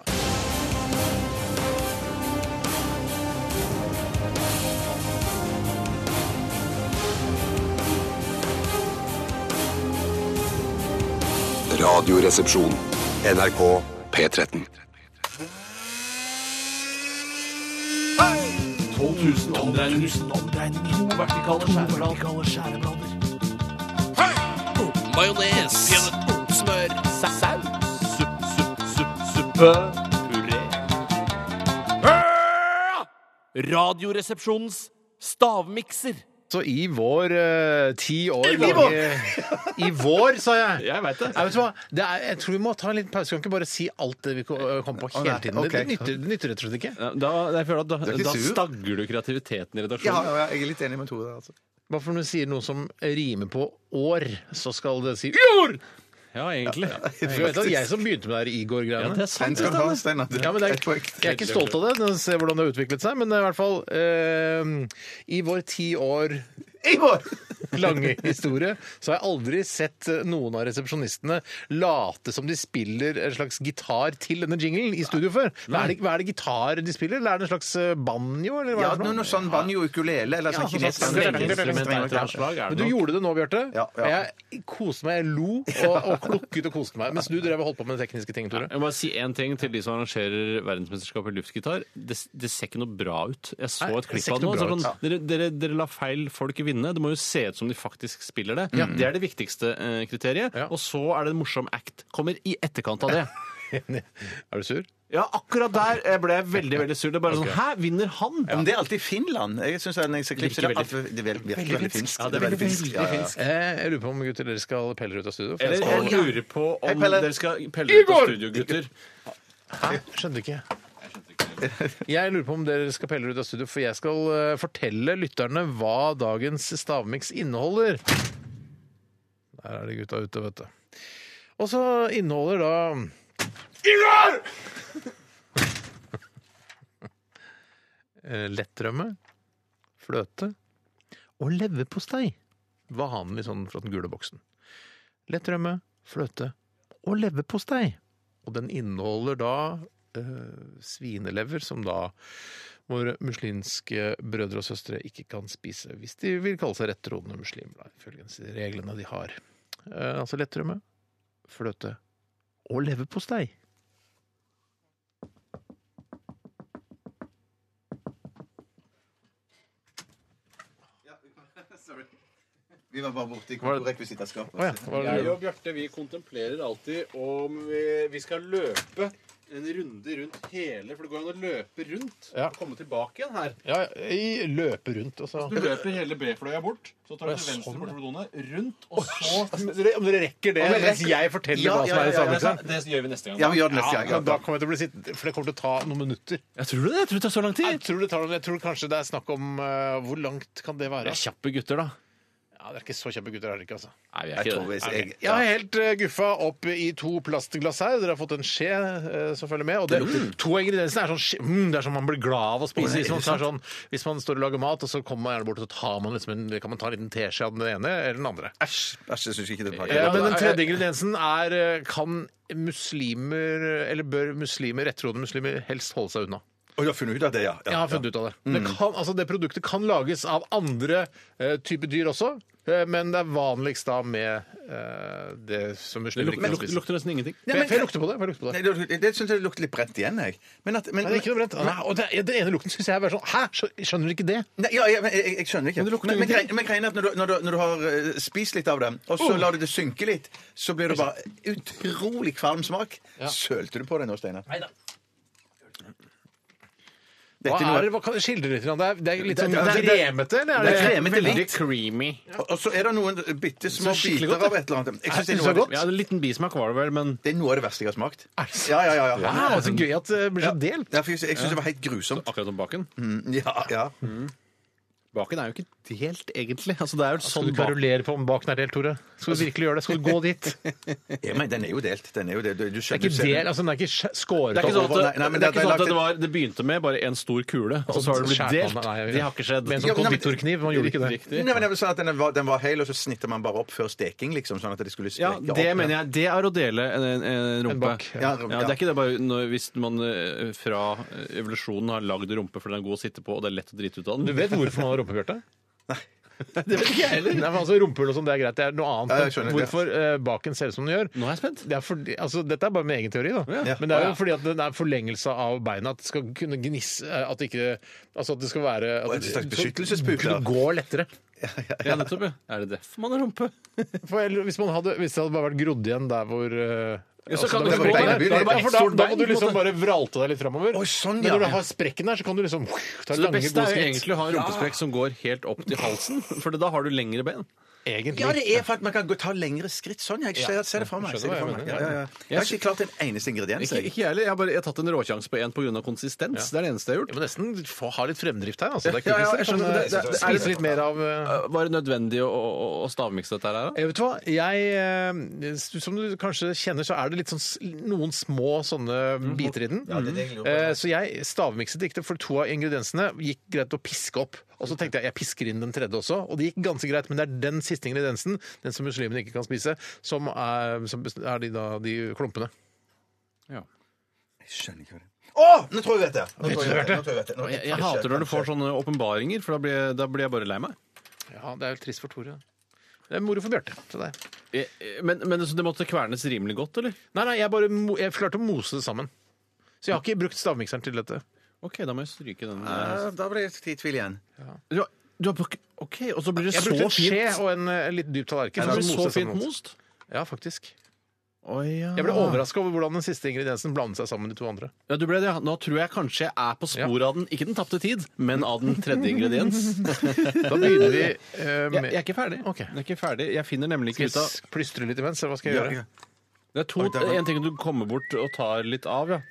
D: Radioresepsjon. NRK P13.
C: 12 000 omdreininger, to vertikale skjæreblader.
F: Majones. Smør. Saus. Supp, supp, supp, suppe. Puré. Radioresepsjonens stavmikser.
E: Så i vår eh, ti år
C: I vår!
E: lange- I vår, sa jeg!
C: Jeg vet det.
E: Nei, vet du hva? Det er, jeg tror vi må ta en liten pause. Vi kan ikke bare si alt det vi ko- eh, kom på hele
A: nei,
E: tiden. Det-
A: ok.
E: Det nytter, det nytter rett og slett ikke.
C: Ja, Da, jeg føler at da,
A: er ikke
C: da
A: sur.
C: stagger du kreativiteten i redaksjonen.
A: Ja, ja, ja, jeg er litt enig med Tore. Altså.
E: Bare for når du sier noe som rimer på år, så skal det si jord!
C: Ja, egentlig.
E: Du vet at jeg som begynte med det her
C: Ja,
E: Igor-greiene.
C: det er sant.
A: Den skal du ha, Steinar.
E: Ja, men det
A: Et poeng.
E: er, jeg er ikke stolt av det, når jeg ser hvordan det har utviklet seg, men det er i hvert fall eh, I vår ti år lange historie så har jeg aldri sett eh, noen av resepsjonistene late som de spiller en slags gitar til denne jinglen i studio før. Hva er det, hva er det gitar de spiller, eller er det en slags eh, banjo? Eller hva
A: Ja,
E: er det for
A: noe,
E: noe?
A: noe sånn banjo-ukulele eller sånn
E: Ja,
A: kinesisk
E: sånn
C: strengeinstrument av et eller annet
A: strengeinstrument.
C: slag, er
E: Men
C: det
E: du
C: nok.
E: gjorde det nå, Bjarte.
A: Ja, ja.
E: Jeg koste meg, jeg lo og, og klukket og koste meg. Mens du drev og holdt på med de tekniske ting, Tore.
C: Jeg må bare si én ting til de som arrangerer verdensmesterskapet i luftgitar. Det, det ser ikke noe bra ut. Jeg så
E: Nei,
C: et klipp
E: det ser
C: av
E: ikke
C: det nå.
E: noe
C: så
E: bra
C: Sånn, dere, dere, dere lar feil folk vinne. Det må jo se ut som de faktisk spiller det. Det er det viktigste eh, kriteriet.
E: Ja.
C: Og så er det en morsom act. Kommer i etterkant av det.
E: Er du sur?
C: Ja, akkurat der eh, ble jeg veldig, veldig sur. Det er bare sånn Hæ, vinner han?
A: Ja, men det er alltid Finland. Jeg synes at når jeg ser klipp, så er det
C: Virker
A: alltid- det virker veldig, veldig finsk.
C: Ja, det er veldig finsk.
A: Ja, ja, ja.
E: Eh, Jeg lurer på om gutter dere skal pelle dere ut av studio. for jeg
C: Eller
E: skal-
C: jeg lurer på
A: Hei,
C: om
A: Pelle.
C: dere skal pelle ut av
A: Igor!
C: studio, gutter.
E: Hæ? Skjønner du ikke. Jeg lurer på om dere skal pelle ut av studio, for jeg skal eh, fortelle lytterne hva dagens stavmiks inneholder. Der er de gutta ute, vet du. Og så inneholder da Ivar! Eh, Lettrømme, fløte og leverpostei. Vanlig sånn fra den gule boksen. Lettrømme, fløte og leverpostei. Og den inneholder da eh, svinelever, som da våre muslimske brødre og søstre ikke kan spise hvis de vil kalle seg rettroende muslimer, da, ifølge de reglene de har. Eh, altså lettrømme, fløte og leverpostei.
A: Vi var bare borti rekvisittaskapet.
E: Å ja, hva er
J: Jeg
E: det?
J: og Bjarte vi kontemplerer alltid om vi, vi skal løpe en runde rundt hele For det går an å løpe rundt
E: Ja.
J: og komme tilbake igjen her.
E: Ja, jeg løper rundt, altså. og så
J: Du løper hele B-fløya bort, så tar
E: Å,
J: du
E: ja,
J: til venstre
E: sånn,
J: bort
E: ja.
J: for donet, rundt, og så
E: Om dere rekker det
J: Om jeg
E: mens
J: rekker-
E: jeg forteller
A: Ja,
E: hva som
A: ja,
E: er i
A: ja, ja, ja.
E: sammenhengen?
J: Det gjør vi neste gang.
A: Ja, vi gjør det neste
E: Ja,
A: gang.
E: men da
A: Ja,
E: kommer jeg til å bli sittende, for det kommer til å ta noen minutter.
C: Jeg tror det. Jeg tror det tar så lang
E: Jeg tror, det tar, jeg tror kanskje det er snakk om eh, Hvor langt kan det være?
C: er kjappe gutter, da.
E: Ja, det er ikke så kjappe gutter, er det ikke? altså.
C: Nei, vi
A: jeg tror vi-
E: Jeg,
A: jeg-
E: har helt eh, guffa opp i to plastglass her. Dere har fått en skje eh, som følger med. Og det,
A: Mm.
E: to av ingrediensene er sånn skje- mm, Det er sånn man blir glad av å spise. Hvis man, tar sånn, hvis man står og lager mat, og så kommer man gjerne bort og så tar man liksom en, kan man ta en liten teskje av den ene eller den andre.
A: Æsj, æsj, jeg syns ikke det er
E: Ja,
A: bra.
E: men den tredje ingrediensen er eh, Kan muslimer, eller bør muslimer, rettroende muslimer, helst holde seg unna?
A: Og du har funnet ut av det, ja. Mm.
E: Jeg har funnet ut av det. Det, kan, altså det produktet kan lages av andre eh, typer dyr også, eh, men det er vanligst da med eh, det som muslimer ikke kan spise.
C: lukter nesten ingenting.
E: Får jeg- får jeg lukte på det? Får jeg lukte på det?
A: Nei, det det syns jeg lukter litt brent igjen, jeg. Men at, men,
E: Nei, det er ikke noe brent. Nei, og det, den ene lukten syns jeg er bare sånn Hæ, Skjø- skjønner du ikke det?
A: Nei, ja, ja, men jeg, jeg, jeg skjønner ikke.
E: Men det lukter
A: men, men,
E: ingenting.
A: greien- men greien er at når du, når, du, når du har eh, spist litt av det, og
E: Oh.
A: så lar du det synke litt, så blir det bare utrolig kvalm smak. Sølte du på det nå, Steinar? Nei da.
E: Hva
A: Dette er
E: er det?
A: noe,
E: Hva kan skildre litt? grann? Det er, det er litt sånn
A: Det- det- det-
E: kremete, eller?
A: det er kremete
C: Veldig
A: litt.
C: creamy.
A: Og- Og så er det noen bitte små
E: Så skikkelig
A: biter
E: godt,
A: av et eller annet. Jeg synes det,
E: Synes
A: er
E: det
A: noe,
E: er
A: av
E: godt?
A: det-
C: Ja, en liten bismak var det vel, men
A: det er noe av det verste jeg har smakt.
E: det sant?
A: Ja, ja, ja. ja.
E: Wow, så gøy at det blir så delt.
A: Ja, for jeg jeg syns det var helt grusomt.
C: akkurat som baken.
A: Ja, ja.
C: Mm. Baken er jo ikke delt, egentlig. Altså, det er jo
E: Skal
C: sånn
E: du
C: bak...
E: kverulere på om baken er delt, Tore? Skal du virkelig gjøre det? Skal du gå dit? Det
A: ja men den er jo delt. Den er jo delt. Du, du
E: er
A: skjønner,
E: ikke del, altså den er ikke skj- skåret
C: Det er ikke sånn at,
A: Nei, nei,
C: det,
A: men
C: er ikke sånn at
A: det- det er
C: det,
A: lagt
C: var, det begynte med bare en stor kule, og så har det blitt
E: Sånn Skjært
C: delt.
E: på den, nei,
C: Det har ikke skjedd.
E: Med en sånn
A: Ja, men-
E: konditorkniv. Man gjorde ikke det.
A: Nei, men jeg vil si at den var, den var hel, og så snitter man bare opp før steking, liksom, sånn at det skulle
C: Ja,
A: strekke opp.
C: det mener jeg. Det er å dele en, en, en rumpe.
E: bak, ja.
C: ja. det er ikke det bare når, hvis man eh, fra eh, evolusjonen har lagd rumpe fordi den er god å sitte på, og det er lett å drite ut av
E: Du
C: den.
E: vet hvorfor man har rumpe, Bjarte? Det vet ikke jeg heller. Nei, men altså, Rumpehull og sånn, det er greit. Det er noe annet.
A: Ja, jeg skjønner, ja.
E: Hvorfor eh, baken ser ut som den gjør.
C: Nå er jeg spent.
E: Det er fordi, altså, dette er bare min egen teori, da.
A: Ja.
E: Men det er
C: Å,
E: jo
C: ja.
E: fordi at den er forlengelse av beina. At det skal kunne gnisse eh, At det ikke Altså at det skal være
A: Og
E: at
A: en slags
E: så-
A: beskyttelsespute,
E: Kunne
A: ja.
E: gå lettere.
C: Ja, nettopp, ja. Er det derfor man har rumpe?
E: For ellers- hvis, man hadde, hvis det hadde bare vært grodd igjen der hvor eh,
C: Ja, så
E: altså,
C: kan
E: da-
C: du
E: da-
C: gå
E: da-
C: der.
E: da-
A: Da er det
E: da-
A: bare
E: for da-
C: ett stort
E: Da må
C: bein,
E: du
C: på en
E: liksom
C: måte.
E: bare vralte deg litt framover.
A: Oi, sånn,
E: Men
A: ja.
E: når du har sprekken der, så kan du liksom ta
C: Så det
E: lange,
C: beste
E: gode
C: er jo
E: skritt.
C: egentlig å ha en rumpesprekk som går helt opp til halsen, for da har du lengre ben.
E: Egentlig.
A: Ja, det er for at man kan gå, ta lengre skritt. Sånn, jeg ser, ser det for meg. Jeg, ser det for meg. Ja, ja, ja. jeg har ikke klart en eneste ingrediens.
C: Ikke,
A: Jeg.
C: ikke jeg heller. Jeg har bare jeg har tatt en råsjanse på én pga. konsistens. Det er det eneste jeg har
E: Jeg
C: gjort.
E: må nesten få, ha litt fremdrift her. Altså. Det er
A: Ja, ja,
E: kult,
A: jeg
E: hvis
A: skjønner.
E: det,
A: Det-
E: det,
A: det- det-
E: spiser litt mer av eh,
C: Var det nødvendig å, å, å stavmikse dette her? da?
E: jeg Eh, vet hva, jeg, eh, Som du kanskje kjenner, så er det litt sånn, s- noen små sånne biter i den. Eh, Så jeg stavmikset ikke, for to av ingrediensene gikk greit å piske opp. Og så tenkte jeg jeg pisker inn den tredje også, og det gikk ganske greit. Men det er den siste ingrediensen, den som muslimene ikke kan spise, som er, som bes- er de, da, de klumpene.
A: skjønner ikke hva det er. Å! Nå tror jeg vet det! Nå tror jeg vet det. Nå tror jeg vet det. Nå-
C: Jeg, jeg hater når du får sånne åpenbaringer, for da blir, jeg- da blir jeg bare lei meg.
E: Ja, det er jo trist for Tore. Det er moro for Bjarte. til deg.
C: Jeg- Eh, Men, men så det måtte kvernes rimelig godt, eller?
E: Nei, nei, jeg bare mo- jeg klarte å mose det sammen. Så jeg har ikke brukt stavmikseren til dette.
C: OK, da må jeg stryke den.
A: Ja, Da ble jeg i tvil igjen.
C: Du har, du har bruk- OK, og så blir det
E: Jeg
C: så
E: brukte en skje
C: fint.
E: og en eh, litt dyp tallerken.
C: Det blir
E: for å
C: så
E: mose det
C: fint
E: sammen.
C: most.
E: Ja, faktisk.
C: Å, ja.
E: Jeg ble
J: Ah.
E: overraska over hvordan den siste ingrediensen blandet seg sammen med de to andre.
C: Ja, du ble det. ja. Nå tror jeg kanskje jeg er på sporet av den, ikke den tapte tid, men av den tredje ingrediens.
E: Da begynner vi eh,
C: Jeg,
E: med
C: jeg er ikke ferdig.
E: Ok.
C: Jeg er ikke ferdig. Jeg finner nemlig ikke ut av
E: Skal vi plystre litt imens, eller hva skal jeg gjøre?
C: Det er to,
A: Oi, der var-
C: en ting du kommer bort og tar litt av, ja.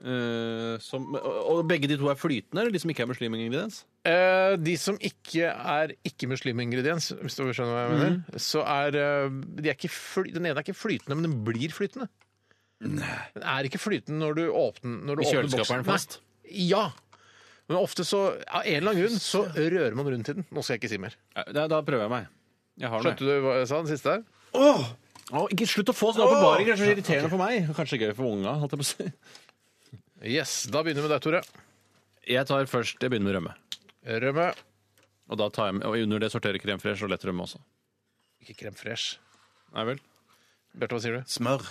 J: eh, som, og og begge de to er flytende, eller de som ikke er muslimingrediens?
E: Eh, de som ikke er ikke-muslim-ingrediens, hvis du skjønner hva jeg mener,
J: Mm.
E: så er eh, de er ikke fly, Den ene er ikke flytende, men den blir flytende. Den er ikke flytende når du åpner, når du
J: I
E: åpner
J: kjøleskapet er den
E: Nei.
J: fast?
E: Ja. Men ofte så, av en eller annen grunn, så rører man rundt i den. Nå skal jeg ikke si mer.
J: Da, da prøver jeg meg. Jeg har den, jeg.
E: Skjønte du hva jeg sa, den siste der?
J: Å, ikke slutt å få sånne åpenbaringer! Det er så irriterende for meg. Kanskje gøy for unga. holdt jeg på å si.
E: Yes, da begynner vi med deg, Tore.
J: Jeg tar først, jeg begynner med rømme.
E: Rømme.
J: Og, da tar jeg, med- og under det sorterer krem fresh og lettrømme også.
E: Ikke krem fresh.
J: Nei vel?
E: Bjarte, hva sier du?
A: Smør.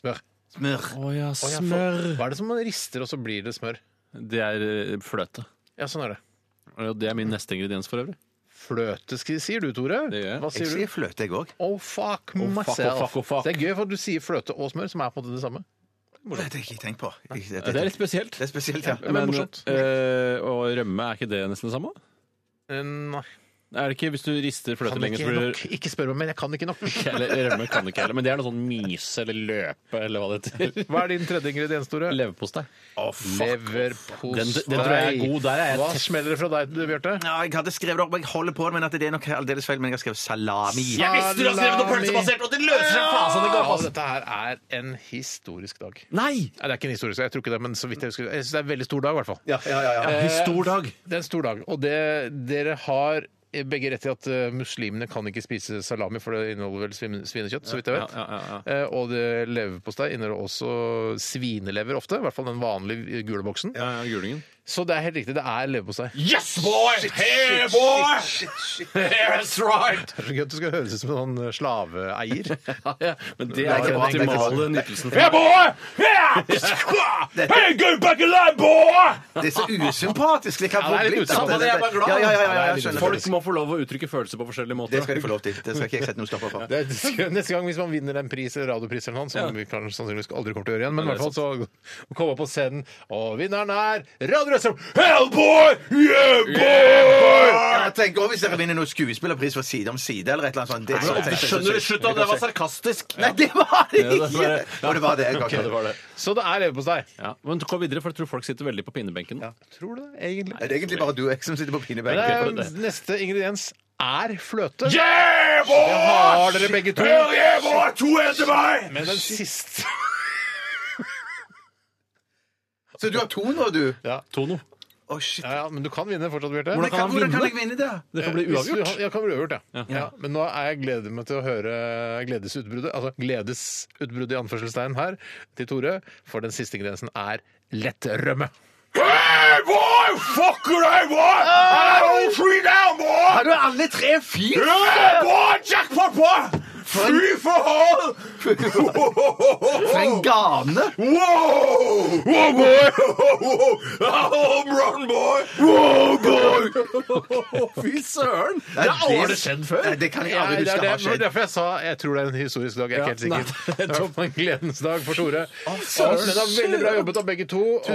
E: Smør.
A: Smør.
J: Å ja,
E: Å, jeg får- Hva er det som man rister, og så blir det smør?
J: Det er eh, fløte.
E: Ja, sånn er det.
J: Og Det er min neste ingrediens for øvrig.
E: Fløte, sk- sier du, Tore.
J: Det gjør jeg.
E: Hva
A: Jeg
E: sier du?
A: sier fløte, jeg òg.
E: Oh, fuck
J: fuck,
E: myself.
J: oh, fuck, oh, fuck.
E: Så Det er gøy, for du sier fløte og smør, som er på en måte det samme.
A: Det har jeg ikke tenkt på. Ikke- Det,
J: Det er litt spesielt.
A: det er spesielt, ja.
E: men morsomt.
J: eh, og rømme, er ikke det nesten det samme?
E: Eh, Nei,
J: Er det ikke hvis du rister fløte
E: kan
J: lenge,
E: ikke
J: så blir
E: nok. Ikke spør meg, men jeg kan ikke nok.
J: det Eller rømme kan det ikke heller. Men det er noe sånn myse eller løpe eller hva det heter.
E: Hva er din tredje ingrediens, Tore?
J: Leverpostei.
E: Leverpostei.
J: Den- den tror jeg er god. Der er jeg
E: Hva
J: tett.
E: smeller det fra deg, du, Bjarte?
A: Ja, jeg hadde skrevet det opp, men jeg holder på det, men at det er nok aldeles feil. Men jeg har skrevet salami.
E: visste du hadde skrevet noe pølsebasert,
J: og det løser seg
E: Ja, dette her er en historisk dag. Nei,
J: Nei!
E: det er ikke en historisk dag, jeg tror ikke det, men så vidt jeg husker. Jeg synes det er en veldig stor dag, i hvert fall.
A: Ja, ja, ja, ja.
J: Stor dag.
E: Det er en stor dag, og det, dere har begge rett i at eh, muslimene kan ikke spise salami, for det inneholder vel svin, svinekjøtt, så vidt jeg vet.
J: Ja, ja, ja,
E: Eh, Og det leverpostei inneholder også svinelever ofte, i hvert fall den vanlige gule boksen.
J: Ja, ja, Julingen.
E: Så det er helt riktig, det er leverpostei.
J: Yes, boy! Hey, boy! That's right!
E: Det er så gøy at du skal høres ut som en sånn slaveeier.
J: Men det er ikke den
E: Det er ikke
J: optimale
E: sant.
J: nytelsen.
E: Yeah, boy!
A: Hey,
J: go back alive, boy!
A: Det er så usympatisk. Det kan
E: Ja, det er
A: bli
E: litt usympatisk.
A: Ja,
E: Jeg er
J: bare glad.
A: Ja, ja, ja, ja, ja, jeg
E: Det er litt
A: skjønner.
J: Folk må få lov å uttrykke følelser på forskjellige måter.
A: Det skal de få lov til. Det skal ikke jeg sette noen stopper for.
E: Det er- Neste gang hvis man vinner en pris, eller radiopris eller noe, som vi kan, sannsynligvis aldri kommer til å gjøre igjen, men i hvert fall så komme opp på scenen, og vinneren er Radioresepsjon! Hellboy! Yeah, boy!
A: Ja, tenk også hvis dere vinner noen skuespillerpris for Side om side eller et eller annet sånt. Det, så,
J: Du skjønner det, slutt da, det var sarkastisk!
A: Nei, det var det
J: Ja, det var
A: ikke!
J: det.
A: Og det var det. ok.
J: Ja, det var det.
E: Så det er leverpostei.
J: Ja, men gå videre, for jeg tror folk sitter veldig på pinnebenken. nå.
E: Tror du det, egentlig?
A: Er det egentlig bare du og jeg som sitter på
E: Men
A: pinebenken?
E: det er- Neste ingrediens er fløte. Yeah, boy! Det har dere begge to. yeah, boy! To etter meg! Men den siste
A: Så du har to nå, du?
J: Tono.
A: Å, shit.
E: Ja, ja, men du kan vinne fortsatt, Bjarte.
A: Men
J: Hvordan kan
A: kan,
J: han
A: hvordan kan
J: vinne?
A: jeg vinne, da?
J: Det kan bli
E: Eh, Hvis du-
J: uavgjort.
E: Ja, kan bli uavgjort, ja. ja. Men nå er jeg gleder meg til å høre gledesutbruddet, altså gledesutbruddet i anførselstegn her, til Tore, for den siste ingrediensen er lettrømme. Hey, boy! Fucker deg, boy! I don't free down, boy!
A: Har du alle tre fint?
E: Yeah, boy! Jackpot, boy! Fy for hold!
A: For en gane!
E: Wow! Wow, boy! Home run, boy! Wow, boy! Fy søren! Det
A: Nei,
E: har aldri
A: det-
E: skjedd før.
A: Nei, det kan jeg aldri
E: Nei, det er det- det
A: huske har
E: var
A: skjedd.
E: derfor jeg sa jeg tror det er en historisk dag. Jeg er ikke
J: Ja,
E: helt
J: nei,
E: sikker.
J: det er
E: Det var en gledens dag for Tore.
A: søren.
E: Men det er veldig bra jobbet av begge to. Tusen,
A: tusen takk,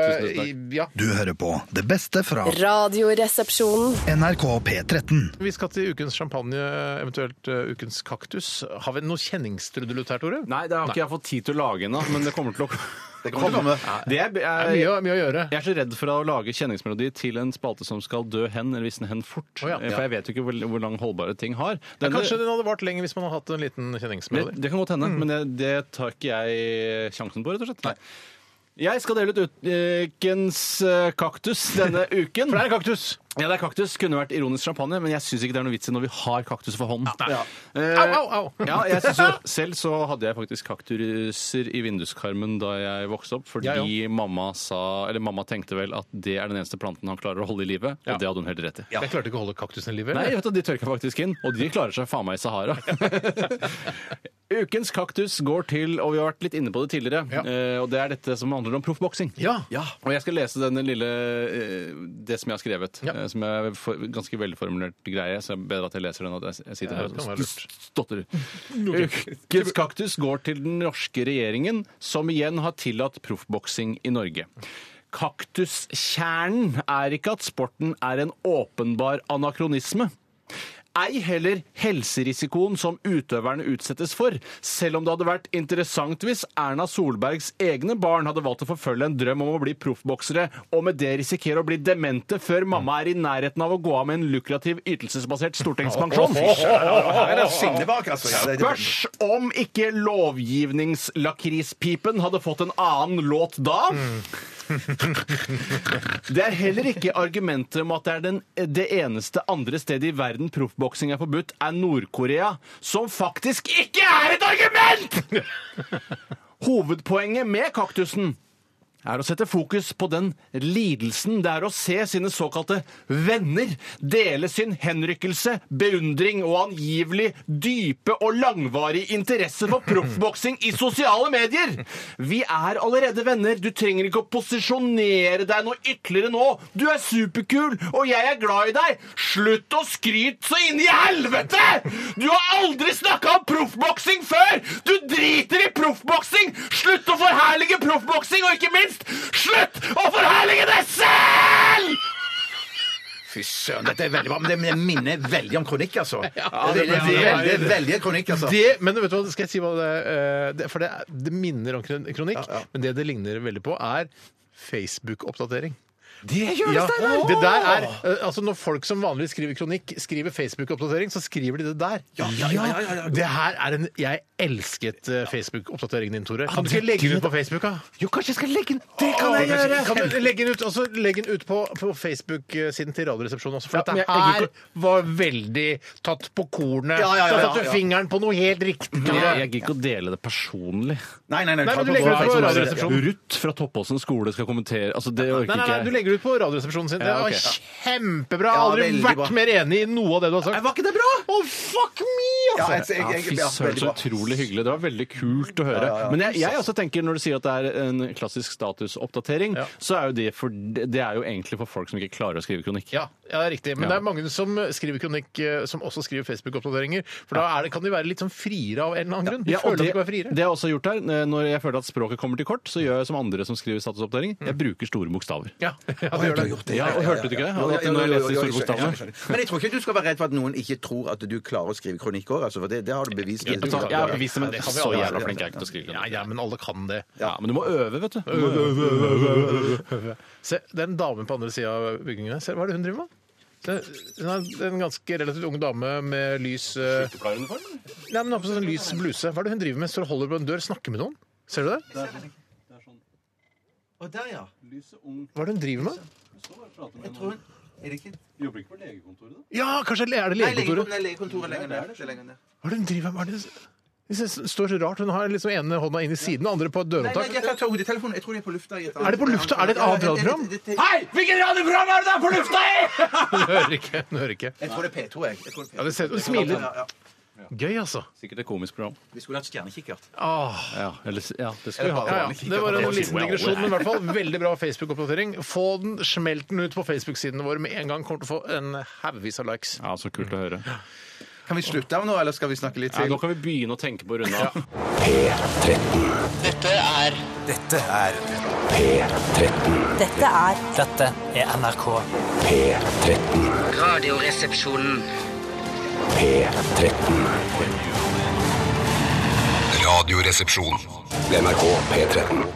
E: tusen takk. Ja,
K: Du hører på det beste fra
G: Radioresepsjonen.
K: NRK P13.
E: vi skal til ukens champagne, eventuelt eh, ukens kaktus. Har vi noe kjenningstrudelutt her, Tore?
J: Nei, det har ikke jeg fått tid til å lage ennå, men det kommer til å
A: Det kommer til å komme.
J: Det er,
E: Det er
J: jeg,
E: mye, mye å gjøre.
J: jeg er så redd for å lage kjenningsmelodi til en spalte som skal dø hen, eller visne hen fort. Eh,
E: Å, ja.
J: For jeg vet jo ikke hvor, hvor lang holdbare ting har.
E: Ja,
J: Denne-
E: kanskje den hadde vart lenger hvis man hadde hatt en liten
J: det,
E: kjenningsmelodi.
J: det kan godt hende, men det, det tar ikke jeg sjansen på, rett og slett. Jeg skal dele ut ukens eh, kaktus denne uken.
E: Det er en kaktus!
J: Ja, det er kaktus. Kunne vært ironisk champagne, men jeg syns ikke det er noe vits i når vi har kaktus for hånden.
E: Ja.
J: Eh,
E: Au, au, au.
J: ja, jeg synes jo, selv så hadde jeg faktisk kaktuser i vinduskarmen da jeg vokste opp, fordi
E: Jeg
J: mamma sa Eller mamma tenkte vel at det er den eneste planten han klarer å holde i live, og
E: Ja.
J: det hadde hun helt rett i.
E: Jeg klarte ikke å holde kaktusen i live.
J: Nei,
E: eller?
J: vet du, de tørker faktisk inn, og de klarer seg faen meg i Sahara. Ukens kaktus går til, og vi har vært litt inne på det tidligere,
E: Ja.
J: eh, og det er dette som handler om proffboksing.
E: Ja.
J: Og jeg skal lese denne lille eh, det som jeg har skrevet,
E: Ja.
J: eh, som er for, ganske velformulert greie, så det er bedre at jeg leser den enn at jeg, jeg sitter
E: Ja,
J: her
E: det kan
J: og
E: være
J: st- stotter. Ukens Eh, kaktus går til den norske regjeringen, som igjen har tillatt proffboksing i Norge. Kaktuskjernen er ikke at sporten er en åpenbar anakronisme. Ei heller helserisikoen som utøverne utsettes for, selv om det hadde vært interessant hvis Erna Solbergs egne barn hadde valgt å forfølge en drøm om å bli proffboksere, og med det risikere å bli demente før mamma er i nærheten av å gå av med en lukrativ ytelsesbasert stortingspensjon.
A: Her er Signe bak, altså. Ja, det- det-
J: Spørs om ikke lovgivningslakrispipen hadde fått en annen låt da. Mm. Det er heller ikke argumentet om at det er den, det eneste andre stedet i verden proffboksing er forbudt, er Nord-Korea, som faktisk ikke er et argument! Hovedpoenget med kaktusen er å sette fokus på den lidelsen det er å se sine såkalte venner dele sin henrykkelse, beundring og angivelig dype og langvarig interesse for proffboksing i sosiale medier. Vi er allerede venner. Du trenger ikke å posisjonere deg noe ytterligere nå. Du er superkul, og jeg er glad i deg. Slutt å skryte så inn i helvete! Du har aldri snakka om proffboksing før! Du driter i proffboksing! Slutt å forherlige proffboksing, og ikke minst, slutt å forherlige deg selv!
A: Fy søren, dette er veldig bra. Men det- det minner veldig om kronikk, altså. det, det, det,
E: det-
A: det, det er veldig kronikk, altså.
E: Det, men vet du hva, skal jeg si hva det eh, det- For det, er- det minner om kron- kronikk,
A: Ja, ja.
E: men det det ligner veldig på, er Facebook-oppdatering.
J: Det gjør
E: Ja, det der er, eh, altså Når folk som vanligvis skriver kronikk, skriver Facebook-oppdatering, så skriver de det der. Det her er en Jeg elsket eh, Facebook-oppdateringen din, Tore. Kan du ikke legge den ut på Facebook? da?
J: Jo, kanskje jeg skal legge den Det kan jeg
E: Åh,
J: gjøre!
E: Kan du legge den ut, også, legge den ut på, på Facebook-siden til Radioresepsjonen også, for
J: Ja, men
E: dette
J: jeg- jeg
E: her var veldig tatt på kornet.
A: Ja, ja,
E: Da
A: ja, ja,
E: satte
A: ja.
E: du fingeren på noe helt riktig.
J: gidder ikke å dele det personlig.
A: Nei, nei, nei.
E: Nei, men du
A: ta
E: legger ut
A: på-
E: på
A: ta på-
E: Radioresepsjonen.
J: Ruth fra Toppåsen skole skal kommentere. Altså, det
E: Nei, nei, nei, du legger det ut på Radioresepsjonen sin. Det
J: Ja, ok.
E: var kjempebra!
A: Ja,
E: Aldri
A: veldig
E: vært
A: bra.
E: mer enig i noe av det du har sagt.
A: Var ikke det bra?
E: Oh, fuck me,
A: Ja,
E: altså!
A: jeg, jeg, jeg,
J: Fy
A: ja,
J: søren,
A: veldig bra.
J: så utrolig hyggelig. Det var veldig kult å høre. Men jeg, jeg også tenker, når du sier at det er en klassisk statusoppdatering,
E: Ja.
J: så er jo det, for, det er jo egentlig for folk som ikke klarer å skrive kronikk.
E: Ja, ja, det er riktig. Men
J: Ja.
E: det er mange som skriver kronikk eh, som også skriver Facebook-oppdateringer. For da er det, kan de være litt sånn friere av en eller annen grunn. De
J: Ja, og
E: føler
J: det,
E: at de er friere.
J: det jeg også har gjort her, eh, Når jeg føler at språket kommer til kort, så gjør jeg som andre som skriver statusoppdatering. Jeg bruker store bokstaver.
E: Ja, ja, det gjør
A: Å, ja,
E: det.
A: du har gjort det.
J: Ja, og hørte du ikke det? At når jeg leser de store bokstavene.
A: Men jeg tror ikke du skal være redd for at noen ikke tror at du klarer å skrive kronikk òg, altså, for det, det har du bevist.
J: Jeg er bevist om det. Så jævla flink er jeg ikke til å skrive
E: Ja,
J: kronikk.
E: ja, men alle kan det.
J: Ja, men du må øve, vet du.
E: Se, det er en dame på andre sida av bygningen her. Se, Hva er det hun driver med? Se, Hun er en ganske relativt ung dame med lys eh, Nei, men hun har på seg sånn lys bluse. Hva er det hun driver med? Står og holder på en dør, snakker med noen? Ser du det?
A: sånn. Og der, ja.
E: Hva er det hun driver med?
A: Jeg tror hun Er det ikke
J: Jobber ikke på legekontoret, da?
E: Ja, kanskje le- er det
A: Nei, legekontoret-
E: legekontoret?
A: nei, legekontoret lenger ned. Det er lenger ned.
E: Hva er det hun driver med? Hva er det Hvis jeg s- står så rart. Hun har liksom ene hånda inn i siden, den andre på et
A: Nei, nei,
E: døropptak.
A: jeg tar- tar hodetelefonen. Jeg tror de er på lufta. i et annet-
E: Er det på lufta? Er det et annet
A: Ja, ja,
E: radioprogram?
A: det- det- det-
J: Hei! Hvilket radioprogram er det der på lufta i?!
E: Hun hører ikke. Hun hører ikke.
A: Jeg tror det er P2, jeg. jeg tror det er P2.
E: Ja, det ser, hun
A: Ja,
E: smiler.
A: ja, ja.
E: Gøy, altså.
J: Sikkert et komisk program.
A: Vi skulle hatt stjernekikkert.
E: Åh.
J: Ja, eller, ja det skal vi ha.
E: Ja, ja. Det var en liten digresjon, men i hvert fall veldig bra Facebook-oppdatering. Få den, smelt den ut på Facebook-sidene våre med en gang. Kommer til å få en haugvis av likes.
J: Ja, så kult å høre.
A: Kan vi slutte av nå, eller skal vi snakke litt
J: Ja,
A: til?
J: nå kan vi begynne å tenke på å runde av.
F: Dette er
L: Dette er NRK.
F: Radioresepsjonen.
M: Radioresepsjon. NRK P13.